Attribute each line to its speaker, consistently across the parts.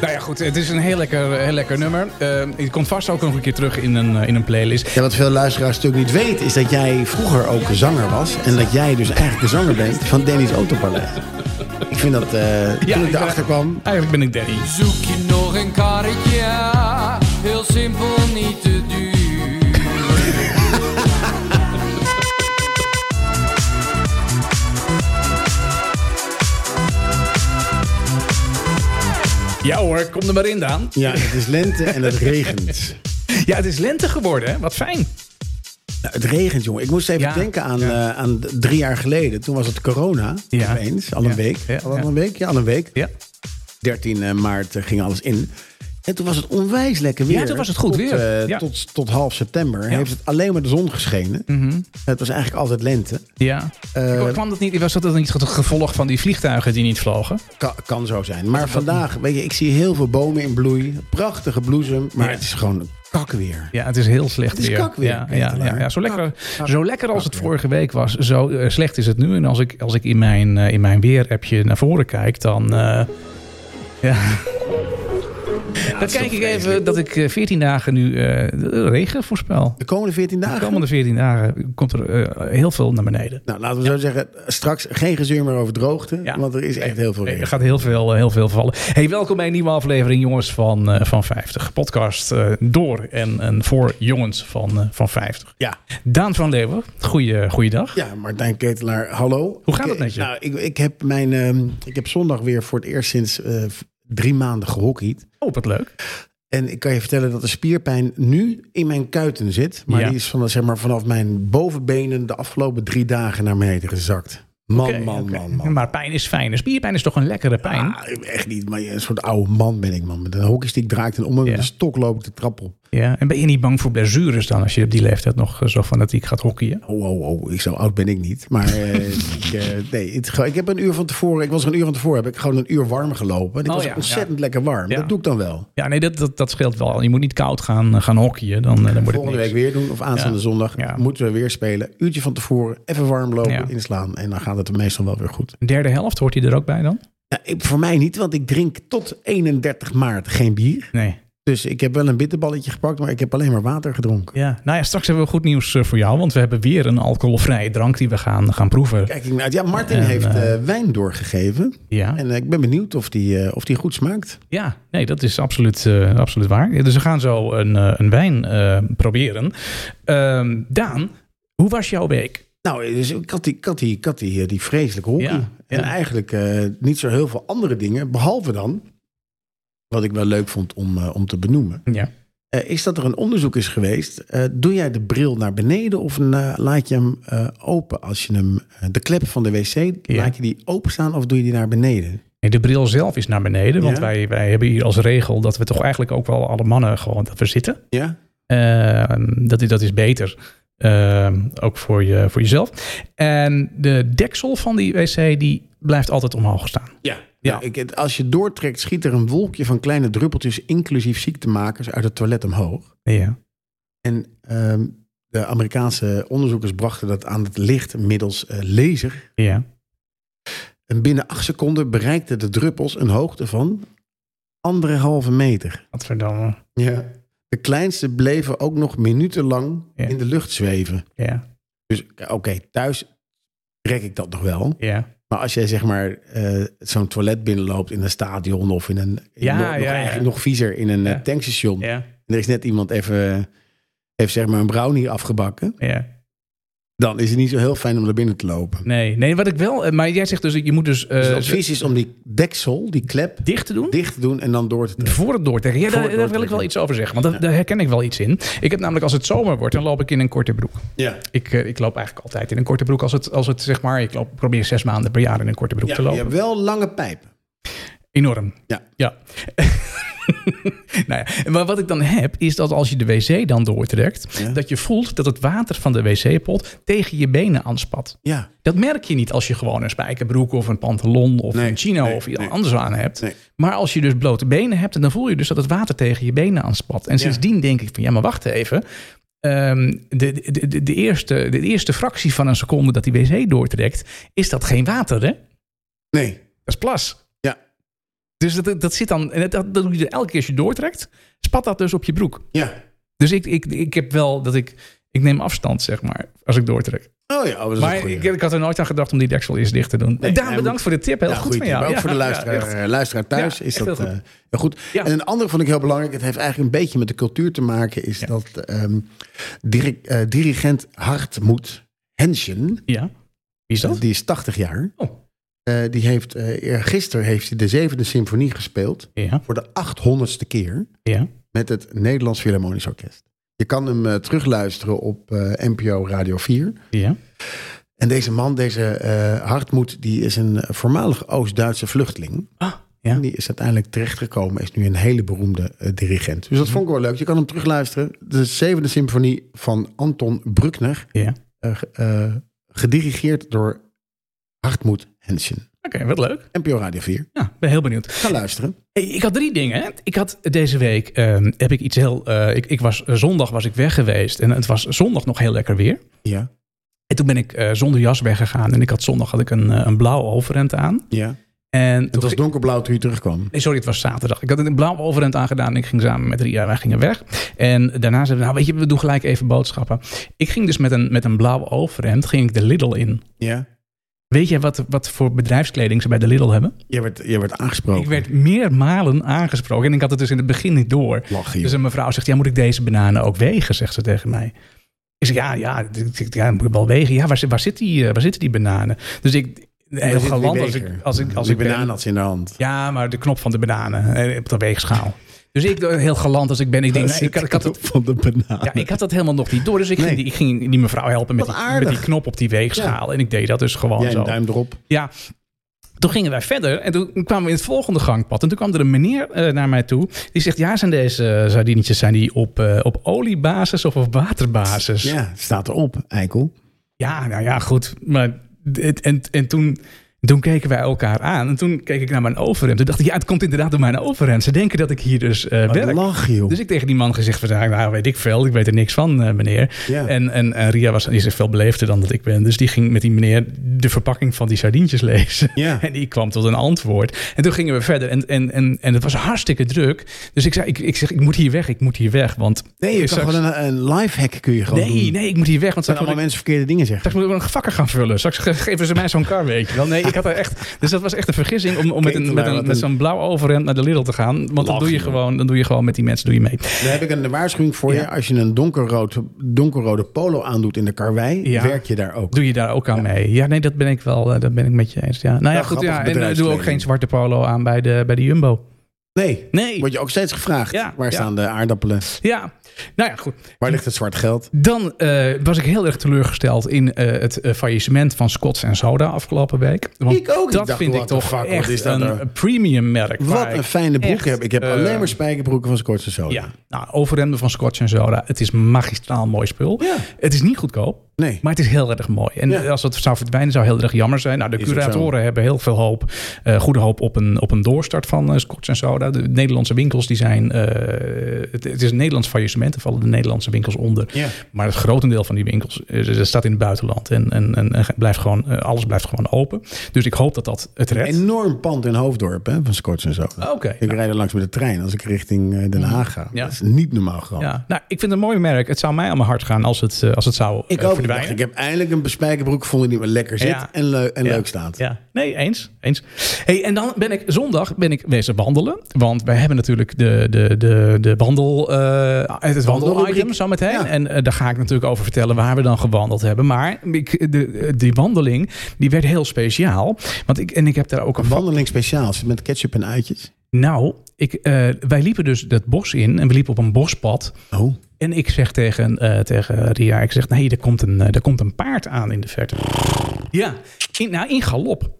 Speaker 1: Nou ja, goed. Het is een heel lekker, heel lekker nummer. Eh, het komt vast ook nog een keer terug in een, eh, in een playlist.
Speaker 2: Ja, wat veel luisteraars natuurlijk niet weten... is dat jij vroeger ook zanger was. En dat jij dus eigenlijk de zanger bent van Danny's Autopalet. Ik vind dat... eh, toen
Speaker 1: Ja,
Speaker 2: ik
Speaker 1: ben-
Speaker 2: erachter kwam...
Speaker 1: Eigenlijk ben ik Danny.
Speaker 3: Zoek je nog een karretje? Heel simpel, niet te duur.
Speaker 1: Ja hoor, kom er maar in, Daan.
Speaker 2: Ja, het is lente en het regent.
Speaker 1: Ja, het is lente geworden, hè? Wat fijn.
Speaker 2: Nou, het regent, jongen. Ik moest even
Speaker 1: Ja,
Speaker 2: denken aan,
Speaker 1: ja.
Speaker 2: eh, aan drie jaar geleden. Toen was het corona.
Speaker 1: Ja.
Speaker 2: Opeens, al een
Speaker 1: Ja,
Speaker 2: week.
Speaker 1: ja,
Speaker 2: Al
Speaker 1: ja.
Speaker 2: een week? Ja, al een week.
Speaker 1: Ja.
Speaker 2: 13 maart eh, ging alles in. En toen was het onwijs lekker weer.
Speaker 1: Ja, toen was het goed
Speaker 2: tot,
Speaker 1: weer.
Speaker 2: eh,
Speaker 1: Ja.
Speaker 2: tot, tot half september
Speaker 1: Ja. Mhm.
Speaker 2: heeft het alleen maar de zon geschenen. Het was eigenlijk altijd lente.
Speaker 1: Ja.
Speaker 2: Eh,
Speaker 1: Kwam dat niet, was dat dan niet het gevolg van die vliegtuigen die niet vlogen?
Speaker 2: Ka- kan zo zijn. Maar vandaag, weet je, ik zie heel veel bomen in bloei. Prachtige bloesem. Maar
Speaker 1: Ja.
Speaker 2: het is gewoon kakweer.
Speaker 1: Ja, het is heel slecht
Speaker 2: Het is
Speaker 1: weer.
Speaker 2: kakweer,
Speaker 1: Ja, ja,
Speaker 2: Kentelaar.
Speaker 1: ja, ja. Zo, lekker,
Speaker 2: kak,
Speaker 1: zo lekker als het
Speaker 2: kakweer.
Speaker 1: vorige week was, zo eh, slecht is het nu. En als ik, als ik in mijn, eh, in mijn weerappje naar voren kijk, dan... eh, ja. dan kijk ik even dat ik eh, 14 dagen nu eh, regen voorspel.
Speaker 2: De komende 14
Speaker 1: De
Speaker 2: dagen.
Speaker 1: komende 14 dagen komt er eh, heel veel naar beneden.
Speaker 2: Nou, laten we zo zeggen, straks geen gezeur meer over droogte.
Speaker 1: Ja.
Speaker 2: Want er is echt heel veel
Speaker 1: Nee, Er
Speaker 2: regen.
Speaker 1: gaat heel veel, eh, heel veel vallen. Hey, welkom bij een nieuwe aflevering, jongens van, eh, van 50. Podcast eh, door en, en voor jongens van, eh, van 50.
Speaker 2: Ja.
Speaker 1: Daan van Leeuwen, goeie, goeiedag.
Speaker 2: Ja, Martijn Ketelaar, hallo.
Speaker 1: Hoe gaat
Speaker 2: Ik-
Speaker 1: het met je?
Speaker 2: Nou, ik, ik, heb mijn, ehm, ik heb zondag weer voor het eerst sinds eh, v- drie maanden gehockeyd.
Speaker 1: Hoop het Oh, leuk.
Speaker 2: En ik kan je vertellen dat de spierpijn nu in mijn kuiten zit. Maar
Speaker 1: Ja.
Speaker 2: die is van, zeg maar, vanaf mijn bovenbenen de afgelopen drie dagen naar beneden gezakt. Man,
Speaker 1: Oké,
Speaker 2: Oh, man,
Speaker 1: oké.
Speaker 2: man, man.
Speaker 1: Maar pijn is fijn. Spierpijn is toch een lekkere pijn?
Speaker 2: Ah, echt niet, maar een soort oude man ben ik, man. Met een hockeystick draait en om en met
Speaker 1: Ja.
Speaker 2: een stok loop ik de trap op.
Speaker 1: Ja. En ben je niet bang voor blessures dan als je op die leeftijd nog eh, zo fanatiek gaat hockeyen?
Speaker 2: Oh, oh, oh, ik, zo oud ben ik niet. Maar eh, ik, eh, nee, het, ge- ik heb een uur van tevoren, ik was er een uur van tevoren, heb ik gewoon een uur warm gelopen. En ik
Speaker 1: Oh,
Speaker 2: was
Speaker 1: ja,
Speaker 2: ontzettend lekker warm.
Speaker 1: Ja.
Speaker 2: Dat doe ik dan wel.
Speaker 1: Ja, nee, dat, dat, dat scheelt wel. Je moet niet koud gaan, eh, gaan hockeyen. Dan, eh, dan wordt het
Speaker 2: Volgende week
Speaker 1: niks.
Speaker 2: weer doen, of aanstaande
Speaker 1: Ja.
Speaker 2: zondag
Speaker 1: Ja.
Speaker 2: moeten we weer spelen. Uurtje van tevoren, even warm lopen,
Speaker 1: Ja.
Speaker 2: inslaan. En dan gaat het meestal wel weer goed.
Speaker 1: Derde helft, hoort hij er ook bij dan?
Speaker 2: Ja, ik, voor mij niet, want ik drink tot 31 maart geen bier.
Speaker 1: Nee.
Speaker 2: Dus ik heb wel een bitterballetje gepakt, maar ik heb alleen maar water gedronken.
Speaker 1: Ja, nou ja, straks hebben we goed nieuws eh, voor jou. Want we hebben weer een alcoholvrije drank die we gaan, gaan proeven.
Speaker 2: Kijk ik naar uit. Ja, Martin
Speaker 1: En,
Speaker 2: heeft
Speaker 1: eh,
Speaker 2: eh, wijn doorgegeven.
Speaker 1: Ja,
Speaker 2: En eh, ik ben benieuwd of die, eh, of die goed smaakt.
Speaker 1: ja nee, dat is absoluut, eh, absoluut waar. Ja, Dus we gaan zo een, eh, een wijn eh, proberen. Ehm, Daan, hoe was jouw week?
Speaker 2: Nou, dus ik had die, ik had die, ik had die, eh, die vreselijke hockey.
Speaker 1: Ja,
Speaker 2: En
Speaker 1: ja.
Speaker 2: eigenlijk eh, niet zo heel veel andere dingen. Behalve dan, wat ik wel leuk vond om, eh, om te benoemen.
Speaker 1: Ja.
Speaker 2: eh, is dat er een onderzoek is geweest. eh, doe jij de bril naar beneden of na- laat je hem eh, open als je hem... eh, de klep van de wc, laat je die openstaan of doe je die naar beneden?
Speaker 1: Nee, de bril zelf is naar beneden. Want
Speaker 2: Ja.
Speaker 1: wij, wij hebben hier als regel dat we toch eigenlijk ook wel alle mannen gewoon dat we zitten.
Speaker 2: Ja.
Speaker 1: Ehm, dat, is- dat is beter. Ehm, ook voor, je, voor jezelf. En de deksel van die wc die blijft altijd omhoog staan.
Speaker 2: Ja. ja. ik, het- als je doortrekt schiet er een wolkje van kleine druppeltjes... inclusief ziektemakers uit het toilet omhoog.
Speaker 1: Ja.
Speaker 2: En ehm, de Amerikaanse onderzoekers brachten dat aan het licht middels eh, laser.
Speaker 1: ja.
Speaker 2: En binnen acht seconden bereikten de druppels een hoogte van anderhalve meter.
Speaker 1: Wat verdomme.
Speaker 2: Ja. De kleinste bleven ook nog minutenlang
Speaker 1: Ja.
Speaker 2: in de lucht zweven.
Speaker 1: Ja,
Speaker 2: Dus oké, thuis trek ik dat nog wel.
Speaker 1: ja.
Speaker 2: Maar als jij zeg maar eh, zo'n toilet binnenloopt in een stadion of in een... in
Speaker 1: Ja,
Speaker 2: nog,
Speaker 1: ja,
Speaker 2: nog,
Speaker 1: ja.
Speaker 2: eigenlijk nog viezer, in een
Speaker 1: Ja.
Speaker 2: eh, tankstation.
Speaker 1: Ja,
Speaker 2: En er is net iemand even, eh, heeft zeg maar een brownie afgebakken.
Speaker 1: ja.
Speaker 2: dan is het niet zo heel fijn om naar binnen te lopen.
Speaker 1: Nee, nee, wat ik wel... eh, Maar jij zegt dus dat je moet dus, eh,
Speaker 2: dus het advies is om die deksel, die klep,
Speaker 1: dicht te doen?
Speaker 2: dicht te doen en dan door te trekken.
Speaker 1: Voor het doortrekken. Ja,
Speaker 2: Voor
Speaker 1: daar,
Speaker 2: het
Speaker 1: daar wil ik wel
Speaker 2: doortrekken.
Speaker 1: iets over zeggen. Want dat- daar herken ik wel iets in. Ik heb namelijk als het zomer wordt, dan loop ik in een korte broek.
Speaker 2: Ja.
Speaker 1: Ik, eh, ik loop eigenlijk altijd in een korte broek. Als het, als het zeg maar, ik loop, probeer zes maanden per jaar in een korte broek
Speaker 2: Ja,
Speaker 1: te
Speaker 2: je
Speaker 1: lopen.
Speaker 2: hebt wel lange pijpen.
Speaker 1: Enorm.
Speaker 2: Ja.
Speaker 1: Ja. nou ja, maar wat ik dan heb, is dat als je de wc dan doortrekt,
Speaker 2: Ja.
Speaker 1: dat je voelt dat het water van de wc-pot tegen je benen aanspat.
Speaker 2: Ja.
Speaker 1: Dat merk je niet als je gewoon een spijkerbroek of een pantalon of
Speaker 2: Nee,
Speaker 1: een chino
Speaker 2: nee,
Speaker 1: of iets
Speaker 2: nee.
Speaker 1: anders aan hebt.
Speaker 2: Nee.
Speaker 1: Maar als je dus blote benen hebt, dan voel je dus dat het water tegen je benen aanspat. En sindsdien denk ik van ja, maar wacht even. Ehm, de, de, de, de, eerste, de eerste fractie van een seconde dat die wc doortrekt, is dat geen water, hè?
Speaker 2: Nee.
Speaker 1: Dat is plas.
Speaker 2: Ja.
Speaker 1: Dus dat, dat zit dan, en dat, dat doe je er elke keer als je doortrekt, spat dat dus op je broek.
Speaker 2: Ja.
Speaker 1: Dus ik, ik, ik heb wel dat ik, ik neem afstand, zeg maar, als ik doortrek.
Speaker 2: Oh ja, oh, dat is een
Speaker 1: Maar
Speaker 2: goeie.
Speaker 1: ik, ik had er nooit aan gedacht om die deksel eens dicht te doen.
Speaker 2: Nee,
Speaker 1: Daan,
Speaker 2: hij
Speaker 1: bedankt
Speaker 2: moet-
Speaker 1: voor de tip. Heel
Speaker 2: Ja,
Speaker 1: goed
Speaker 2: Nou, goeie
Speaker 1: van jou.
Speaker 2: tip. Maar Ook
Speaker 1: Ja,
Speaker 2: voor de
Speaker 1: ja,
Speaker 2: luisteraar,
Speaker 1: echt.
Speaker 2: eh, luisteraar thuis
Speaker 1: Ja,
Speaker 2: is
Speaker 1: echt
Speaker 2: dat
Speaker 1: heel goed.
Speaker 2: eh, heel goed.
Speaker 1: Ja.
Speaker 2: En een andere vond ik heel belangrijk. Het heeft eigenlijk een beetje met de cultuur te maken. Is
Speaker 1: Ja.
Speaker 2: dat ehm, diri- eh, dirigent Hartmoed Henschen,
Speaker 1: Ja. Wie is dat?
Speaker 2: die is 80 jaar.
Speaker 1: Oh.
Speaker 2: Eh, die heeft, eh, eer- gisteren heeft hij de zevende symfonie gespeeld.
Speaker 1: Ja.
Speaker 2: Voor de 800ste keer
Speaker 1: Ja.
Speaker 2: met het Nederlands Philharmonisch Orkest. Je kan hem eh, terugluisteren op eh, NPO Radio 4.
Speaker 1: Ja.
Speaker 2: En deze man, deze eh Hartmoed, die is een voormalig Oost-Duitse vluchteling.
Speaker 1: Ah, ja.
Speaker 2: En die is uiteindelijk terechtgekomen, is nu een hele beroemde eh, dirigent. Dus dat
Speaker 1: Mhm.
Speaker 2: vond ik wel leuk. Je kan hem terugluisteren. De zevende symfonie van Anton Bruckner,
Speaker 1: Ja.
Speaker 2: eh, ge- eh, gedirigeerd door Hartmoed Henschen.
Speaker 1: Oké, wat leuk.
Speaker 2: NPO Radio 4.
Speaker 1: Ja, ben heel benieuwd.
Speaker 2: Ga luisteren.
Speaker 1: Hey, Ik had drie dingen. hè. Ik had deze week ehm, heb ik iets heel. eh, ik, ik was, zondag was ik weg geweest en het was zondag nog heel lekker weer.
Speaker 2: Ja,
Speaker 1: En toen ben ik eh, zonder jas weggegaan en ik had zondag had ik een, eh, een blauw overhemd aan.
Speaker 2: ja.
Speaker 1: En toen
Speaker 2: Het was
Speaker 1: ging-
Speaker 2: donkerblauw toen je terugkwam.
Speaker 1: Nee, sorry, het was zaterdag. Ik had een blauw overhemd aangedaan en ik ging samen met Ria, wij gingen weg. En daarna zeiden we, nou weet je, we doen gelijk even boodschappen. Ik ging dus met een, met een blauw overhemd, ging ik de Lidl in.
Speaker 2: Ja.
Speaker 1: Weet jij wat, wat voor bedrijfskleding ze bij de Lidl hebben?
Speaker 2: Je werd, je werd aangesproken.
Speaker 1: Ik werd meermalen aangesproken en ik had het dus in het begin niet door.
Speaker 2: lachen.
Speaker 1: Dus
Speaker 2: joh.
Speaker 1: een mevrouw zegt, ja, moet ik deze bananen ook wegen? Zegt ze tegen mij. Ik zeg, ja, ja, ik zeg, ja moet ik wel wegen. Ja, waar, zit- waar, zit die, eh, waar zitten die bananen? Dus ik, heel
Speaker 2: Daar zit
Speaker 1: galant
Speaker 2: die
Speaker 1: als ik...
Speaker 2: beker.
Speaker 1: Als ik, als
Speaker 2: die
Speaker 1: ik ben-
Speaker 2: banaan had ze in de hand.
Speaker 1: ja, maar de knop van de bananen eh, op de weegschaal. Dus ik, eh, heel galant als ik ben, ik denk,
Speaker 2: Daar
Speaker 1: nou, ik,
Speaker 2: zit
Speaker 1: had- ik, had
Speaker 2: de
Speaker 1: het,
Speaker 2: knop van de banaan.
Speaker 1: ja, ik had dat helemaal nog niet door. Dus ik,
Speaker 2: Nee.
Speaker 1: ging, die, ik ging die mevrouw helpen met
Speaker 2: Wat
Speaker 1: die,
Speaker 2: aardig.
Speaker 1: met die knop op die weegschaal. En ik deed dat dus gewoon
Speaker 2: Jij
Speaker 1: zo.
Speaker 2: een duim erop.
Speaker 1: Ja. Toen gingen wij verder en toen kwamen we in het volgende gangpad. En toen kwam er een meneer eh, naar mij toe. Die zegt, ja, zijn deze eh, sardinetjes zijn die op, eh, op oliebasis of op waterbasis? Ja,
Speaker 2: Ja, staat erop, Eikel.
Speaker 1: nou ja, goed. Maar dit- en, en toen, toen keken wij elkaar aan. En toen keek ik naar mijn overhemd. Toen dacht ik, ja, het komt inderdaad door mijn overhemd. Ze denken dat ik hier dus eh
Speaker 2: Wat
Speaker 1: werk.
Speaker 2: lach, joh.
Speaker 1: Dus ik tegen die man gezegd, van, nou weet ik veel, ik weet er niks van, eh, meneer.
Speaker 2: Ja.
Speaker 1: En, en, en Ria was, die is veel beleefder dan dat ik ben. Dus die ging met die meneer de verpakking van die sardientjes lezen.
Speaker 2: Ja.
Speaker 1: En die kwam tot een antwoord. En toen gingen we verder. En, en, en, en het was hartstikke druk. Dus ik zei, ik, ik zeg, ik moet hier weg, ik moet hier weg. Want
Speaker 2: Nee, je kan
Speaker 1: straks-
Speaker 2: gewoon een, een lifehack kun je gewoon doen.
Speaker 1: nee,
Speaker 2: Het
Speaker 1: nee, ik moet hier weg. Want
Speaker 2: zijn
Speaker 1: straks moet
Speaker 2: allemaal
Speaker 1: ik,
Speaker 2: mensen verkeerde dingen zeggen.
Speaker 1: straks moet ik wel een vakken gaan vullen. Straks ge- geven ze mij zo'n kar, weet je wel. Nee, ik had er echt... Dus dat was echt een vergissing om, om met,
Speaker 2: Klinkt
Speaker 1: een, met,
Speaker 2: wel
Speaker 1: een,
Speaker 2: wat
Speaker 1: met
Speaker 2: een-
Speaker 1: zo'n blauw overhemd naar de Lidl te gaan. Want dan
Speaker 2: Lach,
Speaker 1: doe, je
Speaker 2: joh.
Speaker 1: gewoon, dan doe je gewoon met die mensen doe je mee.
Speaker 2: Dan heb ik een waarschuwing voor je. Als je een donkerrood, donkerrode polo aandoet in de karwei,
Speaker 1: Ja.
Speaker 2: werk je daar ook.
Speaker 1: Doe je daar ook aan mee? Ja, nee, dat ben ik wel. eh, Dat ben ik met je eens. Ja. Nou ja,
Speaker 2: Wel
Speaker 1: goed.
Speaker 2: grappig
Speaker 1: Ja, en eh, doe ook
Speaker 2: bedrijfskleding.
Speaker 1: geen zwarte polo aan bij de, bij de Jumbo.
Speaker 2: Dus- Nee,
Speaker 1: Nee.
Speaker 2: word je ook steeds gevraagd.
Speaker 1: Ja,
Speaker 2: Waar
Speaker 1: ja.
Speaker 2: staan de aardappelen?
Speaker 1: Ja, nou ja, goed.
Speaker 2: Waar ligt het zwart geld?
Speaker 1: Dan eh, was ik heel erg teleurgesteld in eh, het eh, faillissement van Scots en Soda afgelopen week. Want
Speaker 2: Ik ook. Ik
Speaker 1: Dat
Speaker 2: dacht,
Speaker 1: vind ik
Speaker 2: what the
Speaker 1: toch
Speaker 2: fuck, wat
Speaker 1: echt
Speaker 2: is dat
Speaker 1: een
Speaker 2: nou?
Speaker 1: premium merk.
Speaker 2: Wat een fijne broek
Speaker 1: echt,
Speaker 2: heb ik. Ik heb
Speaker 1: eh,
Speaker 2: alleen maar spijkerbroeken van Scorch en Soda.
Speaker 1: Ja, nou, overremden van Scotch en Soda. Het is magistraal mooi spul.
Speaker 2: Ja.
Speaker 1: Het is niet goedkoop.
Speaker 2: Nee.
Speaker 1: Maar het is heel erg mooi. En
Speaker 2: Ja.
Speaker 1: als het zou verdwijnen, zou heel erg jammer zijn. Nou, de
Speaker 2: Is ook
Speaker 1: curatoren hebben heel veel hoop, eh, goede hoop op een, op een doorstart van eh Scotch en Soda. De Nederlandse winkels die zijn. eh, het, het is een Nederlands faillissement. Er vallen de Nederlandse winkels onder.
Speaker 2: Ja.
Speaker 1: Maar het grotendeel van die winkels eh, dat staat in het buitenland. En, en, en, en blijft gewoon, eh, alles blijft gewoon open. Dus ik hoop dat dat het redt.
Speaker 2: Enorm pand in Hoofddorp hè, van Scorch en Soda.
Speaker 1: Oké.
Speaker 2: Ik rijd er langs met de trein als ik richting eh, Den Haag ga.
Speaker 1: Ja.
Speaker 2: Dat is niet normaal gewoon.
Speaker 1: Ja, nou, ik vind het een mooi merk. Het zou mij aan mijn hart gaan als het, eh, als het zou
Speaker 2: Ik
Speaker 1: eh,
Speaker 2: ook. Ik dacht,
Speaker 1: verdwijnen.
Speaker 2: Ik heb eindelijk een spijkerbroek gevonden die me lekker zit
Speaker 1: Ja.
Speaker 2: en, leu- en
Speaker 1: Ja.
Speaker 2: leuk staat.
Speaker 1: Ja, nee, eens. eens. Hey, en dan ben ik zondag ben ik wezen wandelen. Want wij hebben natuurlijk de, de, de, de wandel, eh, het wandelitem
Speaker 2: Wandelrubriek.
Speaker 1: zo meteen.
Speaker 2: Ja.
Speaker 1: En eh, daar ga ik natuurlijk over vertellen waar we dan gewandeld hebben. Maar ik, de, die wandeling die werd heel speciaal. Want ik, en ik heb daar ook een.
Speaker 2: Een wandeling speciaal zit met ketchup en uitjes.
Speaker 1: Nou, ik, eh, wij liepen dus dat bos in en we liepen op een bospad.
Speaker 2: Oh.
Speaker 1: En ik zeg tegen, eh, tegen Ria, ik zeg, nee, er komt, een, eh, er komt een paard aan in de verte. Ja, in, nou, in galop.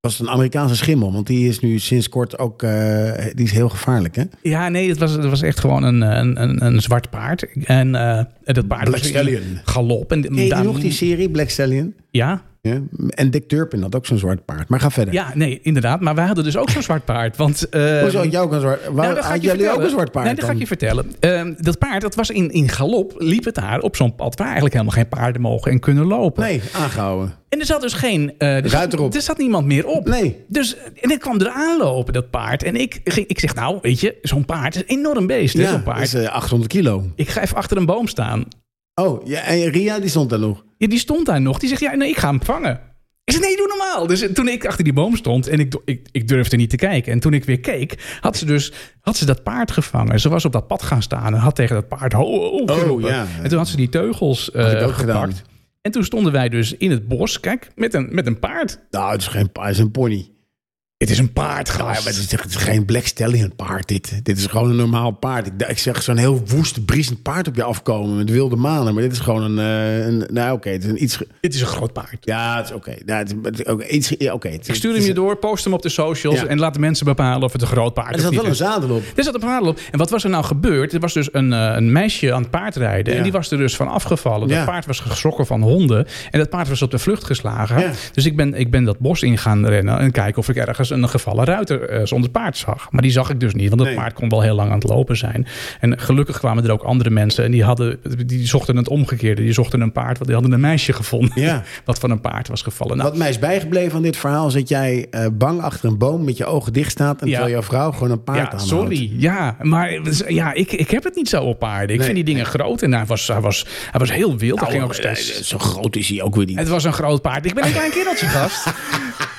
Speaker 2: Dat is een Amerikaanse schimmel, want die is nu sinds kort ook eh, die is heel gevaarlijk. Hè?
Speaker 1: Ja, nee, het was, het was echt gewoon een, een, een, een zwart paard. En eh, dat paard
Speaker 2: Black
Speaker 1: was in
Speaker 2: Stallion.
Speaker 1: galop. En
Speaker 2: Ken je die
Speaker 1: daar-
Speaker 2: nog die serie, Black Stallion?
Speaker 1: Ja,
Speaker 2: Ja? En Dick Turpin had ook zo'n zwart paard. Maar ga verder.
Speaker 1: ja, nee, inderdaad. Maar wij hadden dus ook zo'n zwart paard. Want, eh,
Speaker 2: Hoezo, jij ook een zwart... Waar,
Speaker 1: Nou, dat ga ik
Speaker 2: had
Speaker 1: je
Speaker 2: jullie
Speaker 1: vertellen.
Speaker 2: ook een zwart paard
Speaker 1: Nee, dat ga ik
Speaker 2: dan?
Speaker 1: je vertellen. Ehm, dat paard, dat was in, in galop, liep het daar op zo'n pad waar eigenlijk helemaal geen paarden mogen en kunnen lopen.
Speaker 2: Nee, aangehouden.
Speaker 1: En er zat dus geen... eh, er, zat,
Speaker 2: Ruiter op.
Speaker 1: er zat niemand meer op.
Speaker 2: Nee.
Speaker 1: Dus, en ik kwam er aanlopen, dat paard. En ik, ging, ik zeg, nou, weet je, zo'n paard is een enorm beest, hè,
Speaker 2: Ja,
Speaker 1: zo'n
Speaker 2: dat
Speaker 1: paard.
Speaker 2: is eh, 800 kilo.
Speaker 1: Ik ga even achter een boom staan.
Speaker 2: Oh, ja, en Ria die stond daar nog.
Speaker 1: Ja, die stond daar nog. Die zegt, ja, nee, ik ga hem vangen. Ik zeg, nee, doe normaal. Dus eh, toen ik achter die boom stond en ik, ik, ik durfde niet te kijken. En toen ik weer keek, had ze dus had ze dat paard gevangen. Ze was op dat pad gaan staan en had tegen dat paard ho, ho, ho geroepen.
Speaker 2: Oh, ja.
Speaker 1: En toen had ze die teugels eh,
Speaker 2: Had ik ook
Speaker 1: gepakt.
Speaker 2: gedaan.
Speaker 1: En toen stonden wij dus in het bos, kijk, met een, met een paard.
Speaker 2: Nou, het is geen paard, het is een pony.
Speaker 1: Het is een paard,
Speaker 2: Ja, maar
Speaker 1: gast.
Speaker 2: het is, het is geen Black Stallion paard dit. Dit is gewoon een normaal paard. Ik, ik zeg zo'n heel woest, briesend paard op je afkomen met wilde manen. Maar dit is gewoon een... eh, een nou, oké, het is een iets... ge-
Speaker 1: Dit is een groot paard.
Speaker 2: Ja, het is oké. Nou, het is- het is ook iets... ja, oké, het is-
Speaker 1: Ik stuur
Speaker 2: het
Speaker 1: hem
Speaker 2: is-
Speaker 1: je door, post hem op de socials
Speaker 2: Ja.
Speaker 1: en laat de mensen bepalen of het een groot paard
Speaker 2: Er
Speaker 1: is.
Speaker 2: zat wel een zadel op.
Speaker 1: Er zat een verhaal op. En wat was er nou gebeurd? Er was dus een, eh, een meisje aan het paardrijden. En
Speaker 2: Ja.
Speaker 1: die was er dus van afgevallen. Dat
Speaker 2: Ja.
Speaker 1: paard was geschrokken van honden. En dat paard was op de vlucht geslagen.
Speaker 2: Ja.
Speaker 1: Dus ik ben, ik ben dat bos in gaan rennen. En kijken of ik ergens een gevallen ruiter eh, zonder paard zag. Maar die zag ik dus niet. Want dat
Speaker 2: Nee.
Speaker 1: paard kon wel heel lang aan het lopen zijn. En gelukkig kwamen er ook andere mensen. En die, hadden, die zochten het omgekeerde. Die zochten een paard. Want die hadden een meisje gevonden.
Speaker 2: Ja.
Speaker 1: Wat van een paard was gevallen. Nou,
Speaker 2: Wat mij is bijgebleven aan dit verhaal is dat jij eh, bang achter een boom met je ogen dicht staat. En
Speaker 1: Ja.
Speaker 2: terwijl jouw vrouw gewoon een paard
Speaker 1: Ja,
Speaker 2: aanhoudt.
Speaker 1: sorry. Ja, maar het is- ja, ik, ik heb het niet zo op paarden. Ik
Speaker 2: Nee.
Speaker 1: vind die dingen groot. En hij was, hij was, hij was heel wild. hij ging ook
Speaker 2: Nou,
Speaker 1: steeds...
Speaker 2: eh, Zo groot is hij ook weer niet.
Speaker 1: Het was een groot paard. Ik ben een klein kindertje, gast.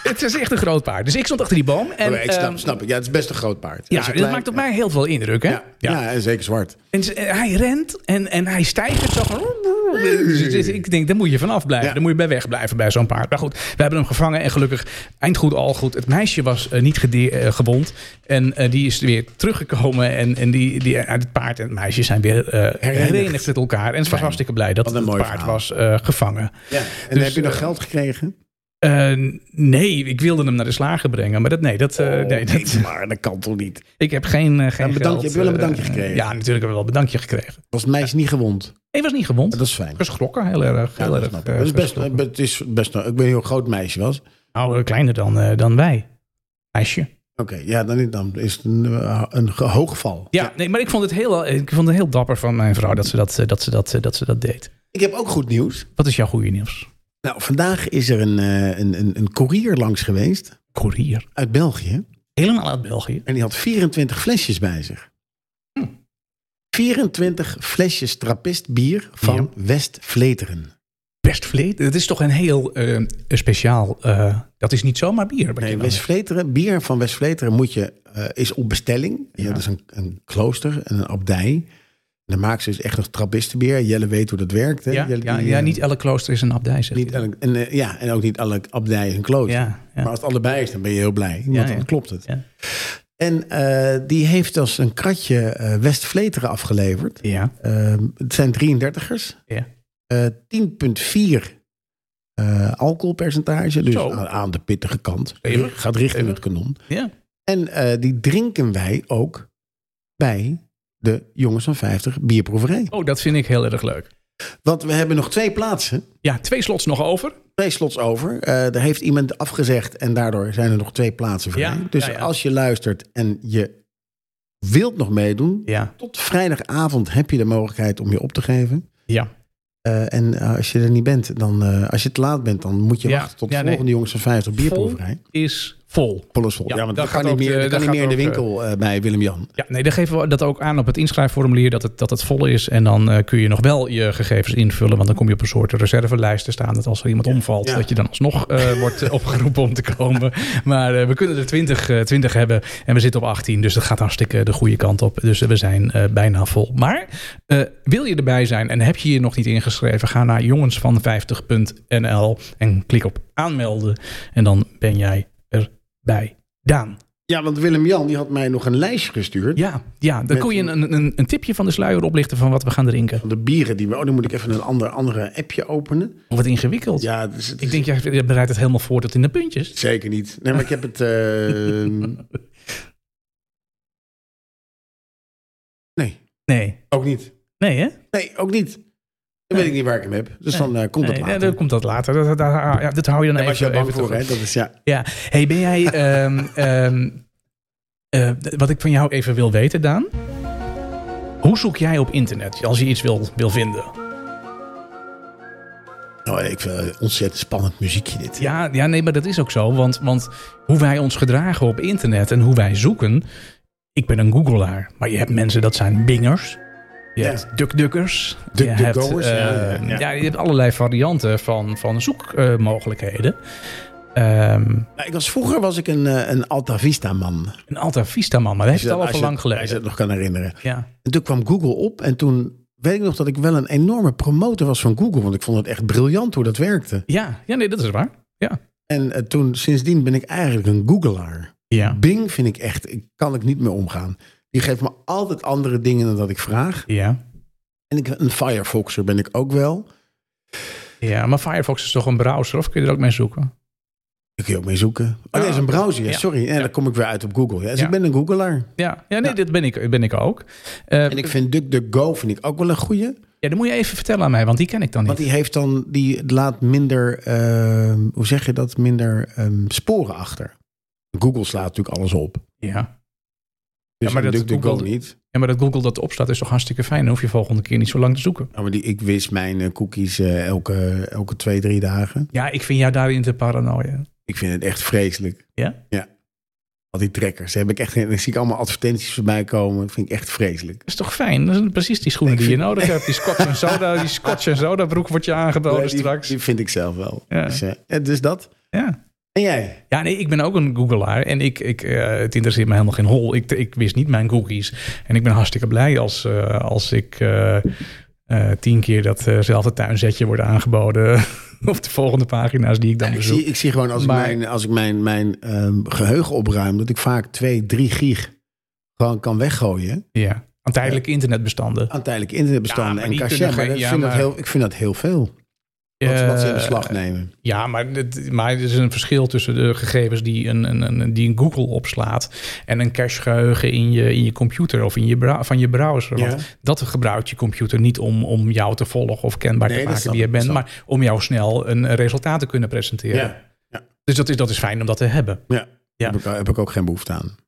Speaker 1: Het is echt een groot paard. Dus ik stond achter die boom. En,
Speaker 2: Oké, Oh, ik snap,
Speaker 1: ehm,
Speaker 2: snap ik. Ja, het is best een groot paard.
Speaker 1: ja,
Speaker 2: Als je
Speaker 1: dat
Speaker 2: klein-
Speaker 1: maakt op mij heel veel indruk, hè?
Speaker 2: Ja, ja. en zeker zwart.
Speaker 1: En ze- en hij rent en, en hij stijgt zo. van- Dus het is- ik denk, daar moet je vanaf blijven.
Speaker 2: Ja.
Speaker 1: Daar moet je bij wegblijven bij zo'n paard. Maar goed, we hebben hem gevangen en gelukkig eindgoed al goed. Het meisje was eh, niet gede- eh, gewond en eh, die is weer teruggekomen. En, en die, die, uit het paard en het meisje zijn weer eh, herenigd met elkaar. En ze was hartstikke blij dat
Speaker 2: Wat
Speaker 1: het
Speaker 2: een mooi
Speaker 1: paard
Speaker 2: verhaal.
Speaker 1: was eh, gevangen.
Speaker 2: Ja. En
Speaker 1: Dus,
Speaker 2: heb je nog
Speaker 1: eh,
Speaker 2: geld gekregen?
Speaker 1: Eh, nee, ik wilde hem naar de slager brengen, maar dat nee. Dat, eh, nee, dat,
Speaker 2: maar dat kan toch niet?
Speaker 1: ik heb geen, eh, geen
Speaker 2: bedankje-
Speaker 1: geld,
Speaker 2: heb je wel Oh, een
Speaker 1: eh,
Speaker 2: bedankje gekregen?
Speaker 1: ja, natuurlijk hebben we wel een bedankje gekregen.
Speaker 2: Was het meisje niet gewond?
Speaker 1: Ik was niet gewond.
Speaker 2: Dat is fijn.
Speaker 1: Geschrokken, heel erg.
Speaker 2: Ja,
Speaker 1: Heel
Speaker 2: dat
Speaker 1: erg
Speaker 2: snap ik.
Speaker 1: eh,
Speaker 2: Dat is best,
Speaker 1: geschrokken.
Speaker 2: het is best ik ben een heel groot meisje was. Oké,
Speaker 1: Nou, eh, kleiner dan, eh, dan wij. Meisje.
Speaker 2: ja, dan, dan is het een, eh, een ge- hoog geval.
Speaker 1: Ja, nee, maar ik vond, het heel, eh, ik vond het heel dapper van mijn vrouw dat ze dat, eh, dat, ze dat, eh, dat, ze dat deed.
Speaker 2: Ik heb ook goed nieuws.
Speaker 1: Wat is jouw goede nieuws?
Speaker 2: Nou, vandaag is er een, eh, een, een, een koerier langs geweest
Speaker 1: Courier.
Speaker 2: uit België.
Speaker 1: Helemaal uit België.
Speaker 2: En die had 24 flesjes bij zich. Hm. 24 flesjes trappist bier van West Vleteren.
Speaker 1: Best vleet. Dat is toch een heel eh, speciaal. eh, dat is niet zomaar bier. wat je
Speaker 2: Nee,
Speaker 1: dan
Speaker 2: West
Speaker 1: hebt.
Speaker 2: Vleteren, bier van West Vleteren moet je, eh, is op bestelling. Ja,
Speaker 1: Ja.
Speaker 2: dat is een, een klooster en een abdij. En dan maken ze dus echt nog trappistenbier. Jelle weet hoe dat werkt. Hè?
Speaker 1: ja,
Speaker 2: Jelle,
Speaker 1: ja,
Speaker 2: die,
Speaker 1: ja,
Speaker 2: eh,
Speaker 1: niet elk klooster is een abdij. Zegt
Speaker 2: niet
Speaker 1: hij.
Speaker 2: elk- en, eh, ja, en ook niet alle abdij is een klooster.
Speaker 1: Ja, ja.
Speaker 2: Maar als het allebei is, dan ben je heel blij. Want
Speaker 1: Ja, ja.
Speaker 2: dan klopt het.
Speaker 1: Ja.
Speaker 2: En eh, die heeft als een kratje eh, West Vleteren afgeleverd.
Speaker 1: ja,
Speaker 2: Eh, het zijn 33ers.
Speaker 1: ja.
Speaker 2: Eh, 10,4 eh, alcoholpercentage. Dus
Speaker 1: Zo.
Speaker 2: aan, aan de pittige kant.
Speaker 1: Stevig.
Speaker 2: Gaat richting
Speaker 1: Stevig.
Speaker 2: het kanon.
Speaker 1: Ja.
Speaker 2: En eh, die drinken wij ook bij de Jongens van 50 bierproeverij.
Speaker 1: Oh, dat vind ik heel erg leuk.
Speaker 2: Want we hebben nog twee plaatsen.
Speaker 1: Ja, twee slots nog over.
Speaker 2: Twee slots over. Eh daar heeft iemand afgezegd en daardoor zijn er nog twee plaatsen vrij.
Speaker 1: Ja,
Speaker 2: dus
Speaker 1: ja, ja.
Speaker 2: als je luistert en je wilt nog meedoen...
Speaker 1: Ja.
Speaker 2: tot vrijdagavond heb je de mogelijkheid om je op te geven...
Speaker 1: Ja.
Speaker 2: Eh, en eh, als je er niet bent, dan, eh, als je te laat bent, dan moet je
Speaker 1: Ja,
Speaker 2: wachten tot de
Speaker 1: ja, nee.
Speaker 2: volgende jongens van 50 bierproeverij.
Speaker 1: Vol is vol.
Speaker 2: Polles vol.
Speaker 1: Ja,
Speaker 2: Ja, want
Speaker 1: dat
Speaker 2: dat
Speaker 1: gaat
Speaker 2: kan niet
Speaker 1: ook de-
Speaker 2: meer, dat
Speaker 1: dat
Speaker 2: kan niet meer in de
Speaker 1: gaat ook,
Speaker 2: winkel eh, bij Willem-Jan.
Speaker 1: Ja, nee, dan geven we dat ook aan op het inschrijfformulier dat het, dat het vol is. En dan eh, kun je nog wel je gegevens invullen. Want dan kom je op een soort reservelijst te staan. Dat als er iemand omvalt,
Speaker 2: Ja.
Speaker 1: dat je dan alsnog eh, wordt eh, opgeroepen om te komen. Maar eh, we kunnen er 20, eh, 20 hebben. En we zitten op 18. Dus dat gaat hartstikke de goede kant op. Dus eh, we zijn eh, bijna vol. Maar eh, wil je erbij zijn en heb je je nog niet ingeschreven? Ga naar jongensvan50.nl en klik op aanmelden. En dan ben jij erbij. Daan.
Speaker 2: Ja, want Willem-Jan die had mij nog een lijstje gestuurd.
Speaker 1: Ja, ja dan
Speaker 2: Met
Speaker 1: kon je een, een, een tipje van de sluier oplichten van wat we gaan drinken.
Speaker 2: Van de bieren die we... Oh, nu moet ik even een ander, andere appje openen.
Speaker 1: Wat ingewikkeld.
Speaker 2: Ja, dus het is
Speaker 1: Ik denk, jij jij bereidt het helemaal voor tot in de puntjes.
Speaker 2: zeker niet. Nee, maar ik heb het... eh, nee,
Speaker 1: Nee,
Speaker 2: ook niet.
Speaker 1: nee hè?
Speaker 2: Nee, ook niet. Dan weet ik niet waar ik hem heb. Dus dan eh, komt het
Speaker 1: Nee,
Speaker 2: later.
Speaker 1: dan komt dat later. Dat, dat, dat- ah, ja, dit hou je dan
Speaker 2: Daar was
Speaker 1: even,
Speaker 2: je al bang
Speaker 1: even
Speaker 2: voor,
Speaker 1: terug.
Speaker 2: hè? Dat is ja.
Speaker 1: Ja, hey, ben jij. ehm, ehm, eh, d- wat ik van jou even wil weten, Daan. Hoe zoek jij op internet als je iets wil, wil vinden?
Speaker 2: Nou, ik vind het een ontzettend spannend muziekje dit.
Speaker 1: Ja, ja, nee, maar dat is ook zo. Want, want hoe wij ons gedragen op internet en hoe wij zoeken. Ik ben een Googelaar, maar je hebt mensen dat zijn bingers. Je
Speaker 2: Ja.
Speaker 1: hebt dukdukkers.
Speaker 2: Duk-
Speaker 1: je hebt,
Speaker 2: dukgoers, ja,
Speaker 1: eh,
Speaker 2: ja, ja.
Speaker 1: je hebt allerlei varianten van, van zoekmogelijkheden. Ehm,
Speaker 2: Nou, ik was, vroeger was ik een, eh, een Alta Vista man.
Speaker 1: een Alta Vista man, maar dat heeft
Speaker 2: Als je
Speaker 1: het al
Speaker 2: dat-
Speaker 1: van
Speaker 2: als je-
Speaker 1: lang geleden.
Speaker 2: Als je het nog kan herinneren.
Speaker 1: ja.
Speaker 2: En toen kwam Google op en toen weet ik nog dat ik wel een enorme promotor was van Google. Want ik vond het echt briljant hoe dat werkte.
Speaker 1: Ja, ja, nee, dat is waar. Ja.
Speaker 2: En eh, toen, sindsdien ben ik eigenlijk een Googelaar.
Speaker 1: Ja.
Speaker 2: Bing vind ik echt, ik, kan ik niet meer omgaan. Die geeft me altijd andere dingen dan dat ik vraag.
Speaker 1: Ja.
Speaker 2: En ik, een Firefoxer ben ik ook wel.
Speaker 1: ja, maar Firefox is toch een browser, of kun je er ook mee zoeken?
Speaker 2: Daar kun je ook mee zoeken. Oh, nee, dat is een browser. Ja,
Speaker 1: Ja.
Speaker 2: sorry. En dan kom ik weer uit op Google. Ja, dus
Speaker 1: Ja.
Speaker 2: ik ben een Googelaar.
Speaker 1: Ja, ja nee, dit ben ik, ben ik ook. Eh,
Speaker 2: En ik vind DuckDuckGo vind ik ook wel een goeie.
Speaker 1: ja, dat moet je even vertellen aan mij, want die ken ik dan niet.
Speaker 2: Want die heeft dan, die laat minder, ehm, hoe zeg je dat, minder ehm, sporen achter. Google slaat natuurlijk alles op.
Speaker 1: Ja.
Speaker 2: Dus
Speaker 1: Ja, maar dat
Speaker 2: DuckDuckGo
Speaker 1: Google-
Speaker 2: niet.
Speaker 1: ja, maar dat Google dat opstaat is toch hartstikke fijn. Dan hoef je volgende keer niet zo lang te zoeken.
Speaker 2: Nou, maar die, ik wist mijn eh, cookies eh, elke, elke twee, drie dagen.
Speaker 1: Ja, ik vind jou daarin te paranoia.
Speaker 2: Ik vind het echt vreselijk.
Speaker 1: Ja?
Speaker 2: Ja. Al die trekkers. Daar heb ik echt, eh, dan zie ik allemaal advertenties voorbij komen. Dat vind ik echt vreselijk.
Speaker 1: Dat is toch fijn? Dat zijn precies die schoenen die je nodig hebt. Die Scotch en soda, die Scotch en soda broek wordt je aangeboden
Speaker 2: Nee, die,
Speaker 1: straks.
Speaker 2: die vind ik zelf wel.
Speaker 1: Ja.
Speaker 2: Dus, eh, en dus dat.
Speaker 1: Ja.
Speaker 2: En jij?
Speaker 1: Ja, nee, ik ben ook een Googelaar en ik, ik, eh, het interesseert me helemaal geen hol. Ik, ik wist niet mijn cookies. En ik ben hartstikke blij als, eh, als ik eh, eh, tien keer datzelfde tuinzetje wordt aangeboden. of de volgende pagina's die ik dan
Speaker 2: Ik
Speaker 1: bezoek.
Speaker 2: zie, ik zie gewoon als
Speaker 1: Maar-
Speaker 2: ik mijn, als ik mijn, mijn ehm, geheugen opruim... dat ik vaak twee, drie gig gewoon kan weggooien...
Speaker 1: Ja, aan tijdelijke internetbestanden.
Speaker 2: aan tijdelijke internetbestanden
Speaker 1: Ja, maar
Speaker 2: en
Speaker 1: die
Speaker 2: cachet.
Speaker 1: kunnen
Speaker 2: Maar
Speaker 1: geen-
Speaker 2: dat
Speaker 1: ja,
Speaker 2: vind dat
Speaker 1: maar-
Speaker 2: heel, ik vind dat heel veel. Wat, wat ze in
Speaker 1: Eh,
Speaker 2: beslag nemen.
Speaker 1: Ja, maar, het, maar er is een verschil tussen de gegevens die een, een, een, die een Google opslaat en een cachegeheugen in je, in je computer of in je brow- van je browser.
Speaker 2: Ja.
Speaker 1: Want dat gebruikt je computer niet om, om jou te volgen of kenbaar
Speaker 2: Nee,
Speaker 1: te
Speaker 2: dat
Speaker 1: maken
Speaker 2: snap
Speaker 1: wie je
Speaker 2: ik,
Speaker 1: bent,
Speaker 2: snap
Speaker 1: maar om jou snel een eh, resultaat te kunnen presenteren.
Speaker 2: Ja. Ja.
Speaker 1: Dus dat is, dat is fijn om dat te hebben.
Speaker 2: Ja.
Speaker 1: Ja.
Speaker 2: Heb, ik, heb ik ook geen behoefte aan.